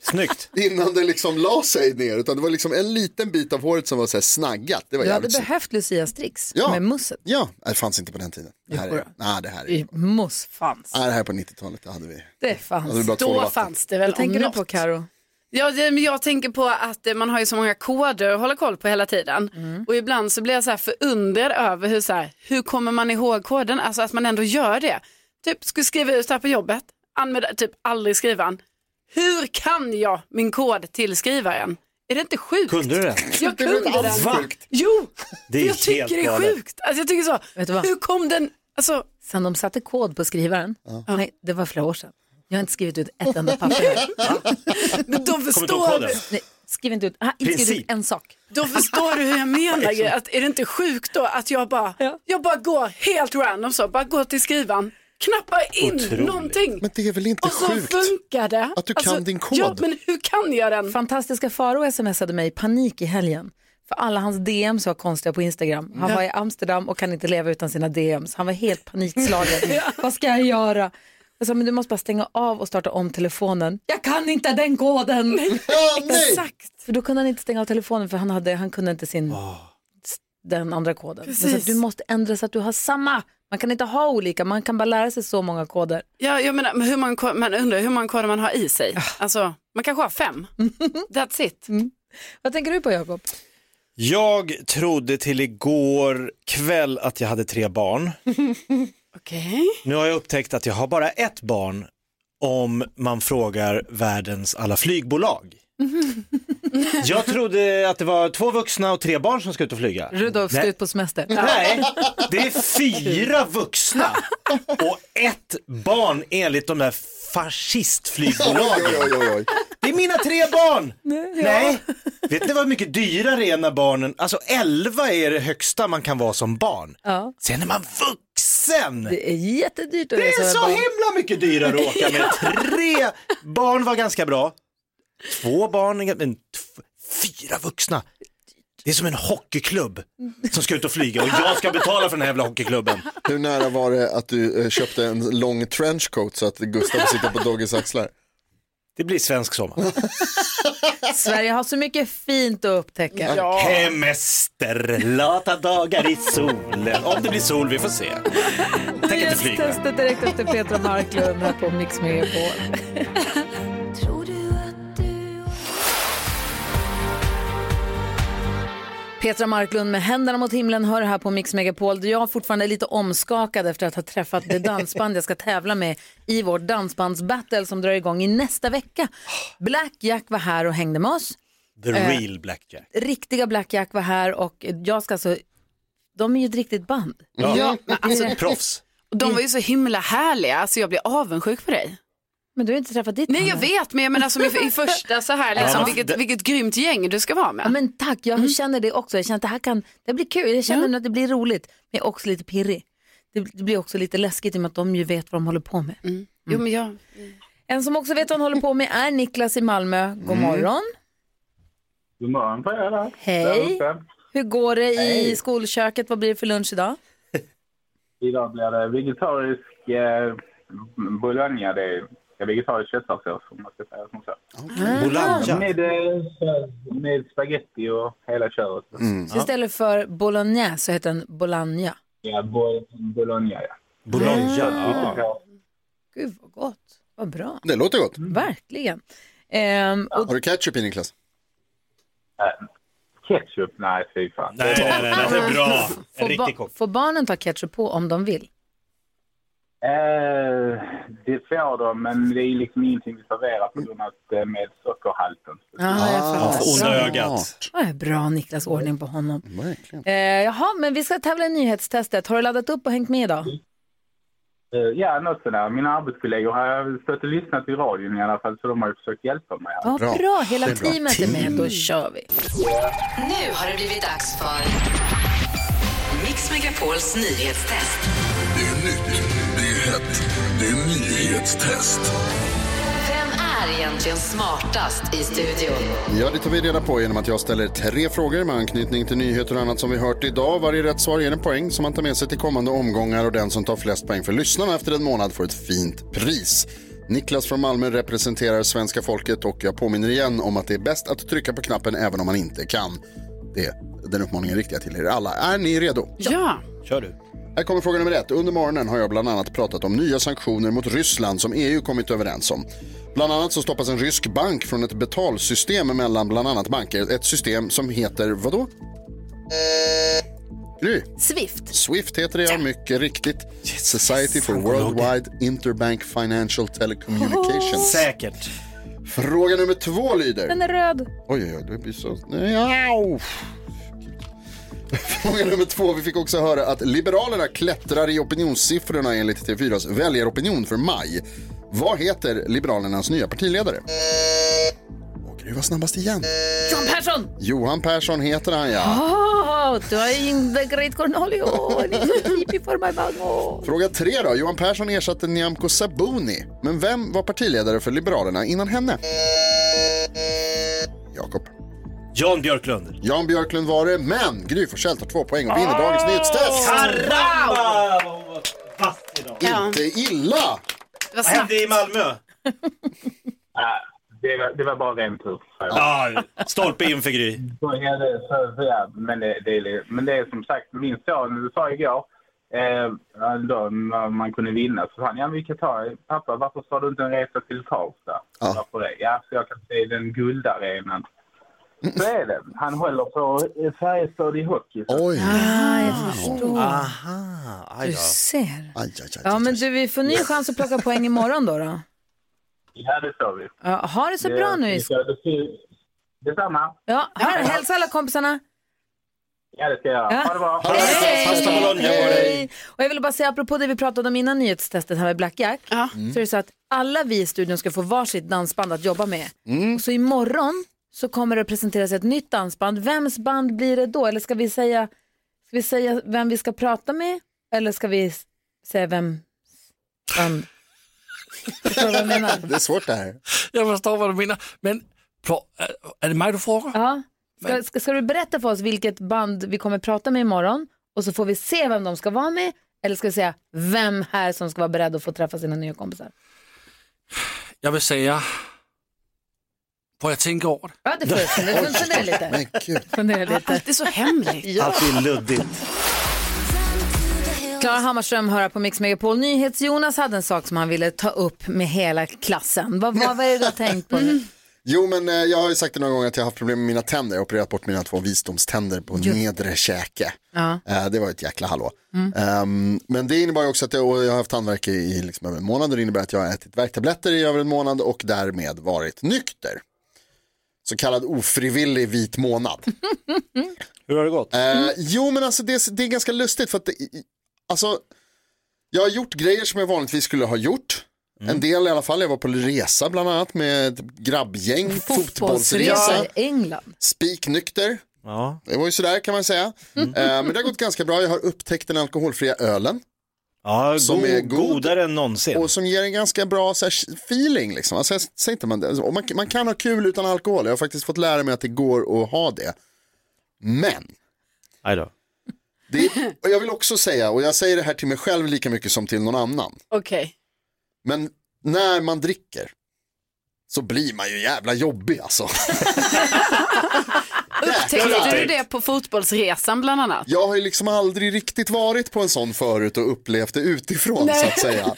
Speaker 5: Snyggt.
Speaker 4: Innan det liksom la sig ner. Utan det var liksom en liten bit av håret som var så här snaggat. Det var
Speaker 1: Du hade
Speaker 4: jävligt synd.
Speaker 1: behövt Lucias tricks
Speaker 4: Ja.
Speaker 1: med musset.
Speaker 4: Ja, det fanns inte på den tiden. Det här
Speaker 1: Jodå.
Speaker 4: är, nej, det här är,
Speaker 1: I- Muss fanns.
Speaker 4: nej, det här är på 90-talet. Det hade vi.
Speaker 1: Det fanns.
Speaker 4: Hade vi bara tvål och
Speaker 3: Då
Speaker 4: vatten.
Speaker 3: fanns det väl
Speaker 1: Vad tänker
Speaker 3: om
Speaker 1: du på
Speaker 3: något.
Speaker 1: Karo?
Speaker 3: Ja, det, men jag tänker på att eh, man har ju så många koder att hålla koll på hela tiden. Och ibland så blir jag så här förundrad över hur, så här, hur kommer man ihåg koden? Alltså att man ändå gör det. Typ, skulle skriva ut det här på jobbet, använda typ aldrig skrivaren. Hur kan jag min kod till skrivaren? Är det inte sjukt?
Speaker 5: Kunde du det?
Speaker 3: Jag
Speaker 4: Det var
Speaker 3: kunde
Speaker 4: inte alls
Speaker 3: den.
Speaker 4: sjukt.
Speaker 3: Jo,
Speaker 5: Det är
Speaker 3: jag tycker
Speaker 5: helt
Speaker 3: det är
Speaker 5: galet.
Speaker 3: sjukt. Alltså, jag tycker så,
Speaker 1: Vet du vad?
Speaker 3: hur kom den? Alltså,
Speaker 1: Sen de satte kod på skrivaren, nej, det var flera år sedan. Jag har inte skrivit ut ett enda papper.
Speaker 3: de
Speaker 5: Kommer du inte ihåg
Speaker 3: förstår,
Speaker 5: koden?
Speaker 1: nej, skriv inte ut, jag har inte skrivit ut
Speaker 5: Princip.
Speaker 1: en sak.
Speaker 3: Då förstår du hur jag menar. Att, är det inte sjukt då att jag bara,
Speaker 1: Liksom. Ja.
Speaker 3: jag bara går helt random så, bara går till skrivan, knappar in
Speaker 5: Otroligt.
Speaker 3: någonting.
Speaker 4: Men det är väl inte
Speaker 3: och så
Speaker 4: sjukt?
Speaker 3: funkar det. Alltså,
Speaker 4: Att du kan din kod.
Speaker 3: Ja, men hur kan jag den?
Speaker 1: Fantastiska Faro smsade mig i panik i helgen. För alla hans DMs var konstiga på Instagram. Han var i Amsterdam och kan inte leva utan sina DMs. Han var helt panikslagen. Vad ska jag göra? Jag sa, men du måste bara stänga av och starta om telefonen. Jag kan inte den koden!
Speaker 4: Ja, nej!
Speaker 3: Exakt.
Speaker 1: För då kunde han inte stänga av telefonen för han, hade, han kunde inte sin,
Speaker 5: Ah.
Speaker 1: s- den andra koden. Men så att
Speaker 3: Precis.
Speaker 1: du måste ändra så att du har samma. Man kan inte ha olika, man kan bara lära sig så många koder.
Speaker 3: Ja, jag menar, men hur man, ko- man undrar hur många koder man har i sig. Alltså, man kanske har fem.
Speaker 1: Mm.
Speaker 3: That's it.
Speaker 1: Vad tänker du på Jakob?
Speaker 5: Jag trodde till igår kväll att jag hade tre barn.
Speaker 3: Okej.
Speaker 5: Nu har jag upptäckt att jag har bara ett barn om man frågar världens alla flygbolag. Jag trodde att det var två vuxna och tre barn som ska ut och flyga.
Speaker 1: Rudolf ska
Speaker 5: Nej.
Speaker 1: ut på semester.
Speaker 5: Nej, det är fyra vuxna och ett barn enligt de där
Speaker 4: Oj,
Speaker 5: fascistflygbolagen.
Speaker 4: oj, oj, oj, oj.
Speaker 5: Det är mina tre barn! Nej, Vet ni vad mycket dyrare är när barnen, alltså 11 är det högsta man kan vara som barn.
Speaker 1: Ja.
Speaker 5: Sen är man vuxen! Det
Speaker 1: Det är jättedyrt att
Speaker 5: är,
Speaker 1: resa med
Speaker 5: så
Speaker 1: barn.
Speaker 5: himla mycket dyrare att åka med tre barn var ganska bra. Två barn, är- men tf- fyra vuxna. Det är som en hockeyklubb som ska ut och flyga och jag ska betala för den här jävla hockeyklubben.
Speaker 4: Hur nära var det att du eh, köpte en lång trenchcoat så att Gustav sitter på Doggys axlar?
Speaker 5: Det blir svensk sommar.
Speaker 1: Sverige har så mycket fint att upptäcka.
Speaker 5: Hemester, lata dagar i solen. Om det blir sol, vi får se. Tänk inte flyga.
Speaker 1: Testet direkt efter Petra Marklund här på Mix Megapol. Petra Marklund med händerna mot himlen hör här på Mix Megapol. Jag är fortfarande lite omskakad efter att ha träffat det dansband jag ska tävla med i vår dansbandsbattle som drar igång i nästa vecka. Blackjack var här och hängde med oss.
Speaker 5: The real blackjack.
Speaker 1: Riktiga Blackjack var här och jag ska alltså, de är ju ett riktigt band.
Speaker 5: Ja.
Speaker 3: men alltså-
Speaker 5: Proffs.
Speaker 3: Och De var ju så himla härliga, så jag blir alltså avundsjuk på dig.
Speaker 1: Men du har inte träffat ditt
Speaker 3: Nej jag vet men jag menar som i, i första så här liksom,
Speaker 1: Ja.
Speaker 3: vilket, vilket grymt gäng du ska vara med.
Speaker 1: Ja, men tack, jag känner det också. Jag känner att det här kan, det blir kul, jag känner nu att det blir roligt. Men jag är också lite pirrig. Det, det blir också lite läskigt i och med att de ju vet vad de håller på med.
Speaker 3: Jo, men jag...
Speaker 1: En som också vet vad han håller på med är Niklas i Malmö. God
Speaker 15: Mm.
Speaker 1: morgon.
Speaker 15: God morgon på er där.
Speaker 1: Hej.
Speaker 15: Där uppe.
Speaker 1: Hur går det i
Speaker 15: Hej.
Speaker 1: skolköket? Vad blir det för lunch idag?
Speaker 15: Idag blir det vegetarisk eh, bologna. Det är vegetarisk köttfärssås om man ska säga som så.
Speaker 1: Ah.
Speaker 5: Ah.
Speaker 1: Bologna.
Speaker 15: Med, eh, med spaghetti och hela köret.
Speaker 4: Mm.
Speaker 1: Så istället för bolognese så heter den bolagna.
Speaker 15: Ja, bo- bologna ja.
Speaker 1: Bologna,
Speaker 15: ja.
Speaker 1: Gud vad gott, vad bra.
Speaker 4: Det låter gott.
Speaker 1: Verkligen. Ehm, och
Speaker 4: Har du ketchup i Niklas?
Speaker 15: Ketchup? Nej, fy fan.
Speaker 4: Nej, nej, nej, nej, det är bra.
Speaker 1: får, ba- får barnen ta ketchup på om de vill?
Speaker 15: Eh, det får de, men det är liksom ingenting vi serverar på grund av att det är med sockerhalten.
Speaker 1: Ah, jag fattar.
Speaker 15: för onda
Speaker 1: Bra.
Speaker 15: ögat.
Speaker 1: Ja, bra Niklas, ordning på honom. Eh, jaha, men vi ska tävla i nyhetstestet. Har du laddat upp och hängt med idag?
Speaker 15: Eh, ja, något sådär. Mina arbetskollegor har stått och lyssnat i radion i alla fall, så de har ju försökt hjälpa mig.
Speaker 1: Ja, bra. Hela teamet är med. Då kör vi.
Speaker 17: Nu har det blivit dags för Mix Megapols nyhetstest.
Speaker 18: Det är nytt, det är hett, det är nyhetstest.
Speaker 17: Vem är egentligen smartast i studion?
Speaker 4: Ja, det tar vi reda på genom att jag ställer tre frågor med anknytning till nyheter och annat som vi hört idag. Varje rätt svar ger en poäng som man tar med sig till kommande omgångar och den som tar flest poäng för lyssnarna efter en månad får ett fint pris. Niklas från Malmö representerar svenska folket och jag påminner igen om att det är bäst att trycka på knappen även om man inte kan. Det, den uppmaningen riktar jag till er alla. Är ni redo?
Speaker 3: Ja.
Speaker 4: Kör du. Här kommer fråga nummer ett. Under morgonen har jag bland annat pratat om nya sanktioner mot Ryssland som EU kommit överens om. Bland annat så stoppas en rysk bank från ett betalsystem mellan bland annat banker. Ett system som heter vadå? Gry?
Speaker 1: Swift.
Speaker 4: Swift heter det, ja, mycket riktigt. Society for Worldwide Interbank Financial Telecommunications. Säkert. Fråga nummer två lyder.
Speaker 1: Den är röd.
Speaker 4: Oj, oj, oj, det blir så... Ja. uff. Fråga nummer två. Vi fick också höra att Liberalerna klättrar i opinionssiffrorna enligt TV4s väljaropinion för maj. Vad heter Liberalernas nya partiledare? Åh, Gry var snabbast igen.
Speaker 1: Johan Persson!
Speaker 4: Johan Persson heter han, ja.
Speaker 1: Oh, du är in the great Cornelio. Hippie for my mango.
Speaker 4: Fråga tre då. Johan Persson ersatte Nyamko Sabuni. Men vem var partiledare för Liberalerna innan henne? Jakob.
Speaker 5: Jan Björklund.
Speaker 4: Jan Björklund var det, men Gry Forssell tar två poäng och vinner dagens nyhetstest.
Speaker 5: Karamba!
Speaker 4: Inte illa!
Speaker 3: Vad
Speaker 5: hände i Malmö?
Speaker 15: Ja, det, var, det var bara ren tur.
Speaker 5: Ja, stolpe in för Gry.
Speaker 15: Så är det, så, så ja, men, det, det är, men det är som sagt, min son sa igår, eh, då, när man kunde vinna, så sa han, ja men vi kan ta, pappa varför sa du inte en resa till Karlstad?
Speaker 4: Ja.
Speaker 15: Varför det? Ja, så jag kan se den guldarenan. Så är det. Han håller på eh, Färjestad i hockey.
Speaker 4: Oj!
Speaker 1: Ah, jag förstår.
Speaker 4: Aha,
Speaker 1: Du ser.
Speaker 4: Aj, aj, aj.
Speaker 1: Ja, men du, vi får ny chans att plocka poäng imorgon då. då.
Speaker 15: Ja, det sa vi.
Speaker 1: Ja, ha det så bra nu.
Speaker 15: ska jag- det ska- Detsamma.
Speaker 1: Ja, hör, hälsa alla kompisarna.
Speaker 15: Ja, det ska jag.
Speaker 1: Ja.
Speaker 15: Ha det bra.
Speaker 1: Hej! Hej! Och jag vill bara säga, apropå det vi pratade om innan nyhetstestet här med Black Jack, så är det så att alla vi i studion ska få varsitt dansband att jobba med. Och Så imorgon så kommer det att presenteras ett nytt dansband. Vems band blir det då? Eller ska vi säga, ska vi säga vem vi ska prata med? Eller ska vi s- säga vem band? Förstår du vad jag menar?
Speaker 4: Det är svårt det här.
Speaker 6: Jag förstår vad du menar, men pro-
Speaker 14: äh,
Speaker 6: är- är det mig du frågar?
Speaker 1: Ja. Ska,
Speaker 6: Men-
Speaker 1: ska, ska du berätta för oss vilket band vi kommer prata med imorgon och så får vi se vem de ska vara med eller ska vi säga vem här som ska vara beredd att få träffa sina nya kompisar?
Speaker 6: Jag vill säga, får jag tänka över det?
Speaker 1: Ja, det får jag. Fundera- Fundera lite. Fundera lite.
Speaker 3: Allt är så hemligt.
Speaker 1: Ja.
Speaker 5: Alltid luddigt.
Speaker 1: Klara Hammarström hör här på Mix Megapol. NyhetsJonas hade en sak som han ville ta upp med hela klassen. Vad, vad, vad är det du har tänkt på nu?
Speaker 4: Jo, men eh, jag har ju sagt det några gånger att jag har haft problem med mina tänder. Jag har opererat bort mina två visdomständer på nedre käke.
Speaker 1: Ja.
Speaker 4: Eh, Det var ett jäkla hallå.
Speaker 1: Mm.
Speaker 4: Ehm, men det innebar ju också att jag, och jag har haft tandvärk i- i liksom över en månad. och Det innebär att jag har ätit värktabletter i över en månad och därmed varit nykter. Så kallad ofrivillig vit månad.
Speaker 5: Hur har det gått?
Speaker 4: Eh, jo, men alltså det, det är ganska lustigt för att det, i- alltså, jag har gjort grejer som jag vanligtvis skulle ha gjort. En del i alla fall, jag var på resa bland annat med ett grabbgäng,
Speaker 1: Fotbollsresa
Speaker 4: fotbollsresa,
Speaker 1: i England.
Speaker 4: spiknykter.
Speaker 5: Ja.
Speaker 4: Det var ju sådär kan man säga. Eh, men det har gått ganska bra, jag har upptäckt den alkoholfria ölen.
Speaker 5: Ja,
Speaker 4: Som
Speaker 5: go-
Speaker 4: är god.
Speaker 5: godare än någonsin.
Speaker 4: Och som ger en ganska bra så här, feeling. Liksom. Alltså, jag säger inte man, det. Och man, man kan ha kul utan alkohol. Jag har faktiskt fått lära mig att det går att ha det. Men,
Speaker 5: Aj då.
Speaker 4: det, och jag vill också säga, och jag säger det här till mig själv lika mycket som till någon annan.
Speaker 3: Okej.
Speaker 4: Men när man dricker så blir man ju jävla jobbig alltså.
Speaker 3: Upptäckte du det på fotbollsresan bland annat?
Speaker 4: Jag har ju liksom aldrig riktigt varit på en sån förut och upplevt det utifrån
Speaker 3: Nej.
Speaker 4: så att säga.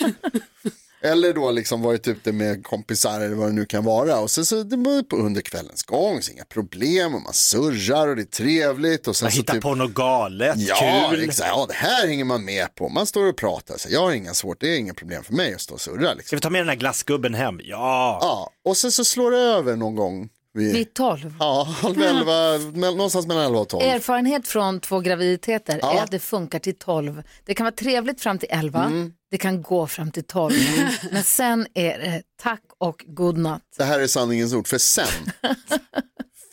Speaker 4: Eller då liksom varit ute med kompisar eller vad det nu kan vara och sen så det var ju på under kvällens gång så inga problem och man surrar och det är trevligt och sen
Speaker 5: Man
Speaker 4: så
Speaker 5: hittar
Speaker 4: typ
Speaker 5: på något galet,
Speaker 4: Ja,
Speaker 5: kul.
Speaker 4: liksom, ja, det här hänger man med på. Man står och pratar. Så jag har inga svårt, det är inga problem för mig att stå och surra. Liksom.
Speaker 5: Ska vi ta med den här glassgubben hem? Ja.
Speaker 4: Ja, och sen så slår det över någon gång. Vid,
Speaker 1: Vid tolv.
Speaker 4: Ja, halv elva, mell- någonstans mellan elva och tolv.
Speaker 1: Erfarenhet från två graviditeter
Speaker 4: Ja.
Speaker 1: är att det funkar till 12. Det kan vara trevligt fram till 11,
Speaker 4: Mm.
Speaker 1: det kan gå fram till 12. Men sen är det tack och godnatt.
Speaker 4: Det här är sanningens ord, för sen,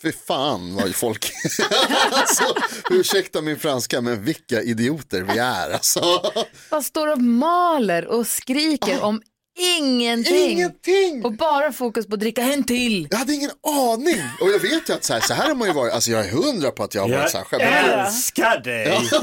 Speaker 4: fy fan vad ju folk, alltså, ursäkta min franska, men vilka idioter vi är alltså.
Speaker 1: Bara står och maler och
Speaker 4: Ah.
Speaker 1: skriker om ingenting.
Speaker 4: Ingenting!
Speaker 1: Och bara fokus på att dricka en till.
Speaker 4: Jag hade ingen aning. Och jag vet ju att så här, så här har man ju varit, alltså jag är hundra på att jag har varit så här
Speaker 5: Jag
Speaker 4: själv.
Speaker 5: älskar dig! Ja.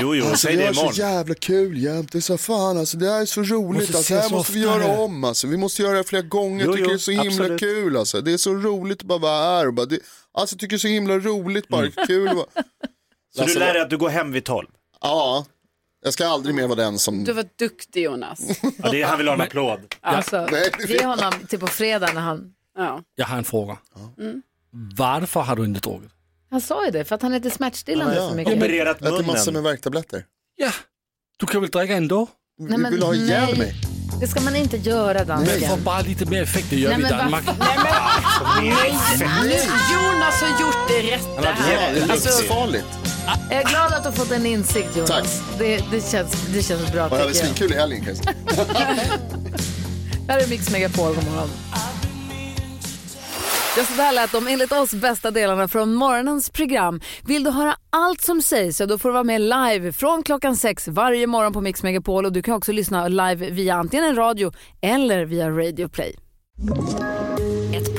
Speaker 5: Jo, jo,
Speaker 4: Alltså,
Speaker 5: säg
Speaker 4: vi
Speaker 5: det
Speaker 4: har så
Speaker 5: imorgon.
Speaker 4: jävla kul jämt, det är så fan alltså, det här är så roligt,
Speaker 5: Måste
Speaker 4: alltså, det här
Speaker 5: ses
Speaker 4: måste vi
Speaker 5: oftare.
Speaker 4: göra om alltså, vi måste göra det här flera gånger,
Speaker 5: Jo,
Speaker 4: jag tycker
Speaker 5: jo,
Speaker 4: det är så himla
Speaker 5: absolut.
Speaker 4: kul alltså, det är så roligt att bara vara här och bara, det, alltså jag tycker det är så himla roligt bara,
Speaker 5: Mm.
Speaker 4: kul att vara...
Speaker 5: Så du
Speaker 4: Alltså,
Speaker 5: lär dig att du går hem vid tolv?
Speaker 4: Ja, jag ska aldrig mer vara den som...
Speaker 3: Du var duktig Jonas.
Speaker 5: Ja, det är, han vill ha en applåd.
Speaker 1: Alltså, ge honom till på fredag när han...
Speaker 3: Ja.
Speaker 6: Jag har en fråga.
Speaker 1: Mm.
Speaker 6: Varför har du inte druckit?
Speaker 1: Han sa ju det, för att han äter smärtstillande så mycket.
Speaker 4: Äter massor med värktabletter.
Speaker 6: Ja, du kan väl dricka ändå?
Speaker 1: Nej, men- vill ha ihjäl nej. mig. Det ska man inte göra,
Speaker 6: Men
Speaker 1: dansken.
Speaker 6: för bara lite mer effekt, det gör
Speaker 1: Nej,
Speaker 6: vi i
Speaker 1: men va-
Speaker 6: Danmark.
Speaker 1: Alltså-
Speaker 3: Nu, Jonas har gjort det rätta här.
Speaker 5: Alltså-
Speaker 4: livsfarligt.
Speaker 1: Jag är glad att du har fått en insikt, Jonas. Det, det, känns, det känns bra,
Speaker 4: Och jag hade
Speaker 1: tycker jag.
Speaker 4: svinkul i helgen kan jag säga.
Speaker 1: Det här är Mix Megapol, god morgon.
Speaker 19: Ja, så där lät de enligt oss bästa delarna från morgonens program. Vill du höra allt som sägs så då får du vara med live från klockan sex varje morgon på Mix Megapol och du kan också lyssna live via antingen en radio eller via Radio Play.
Speaker 2: Ett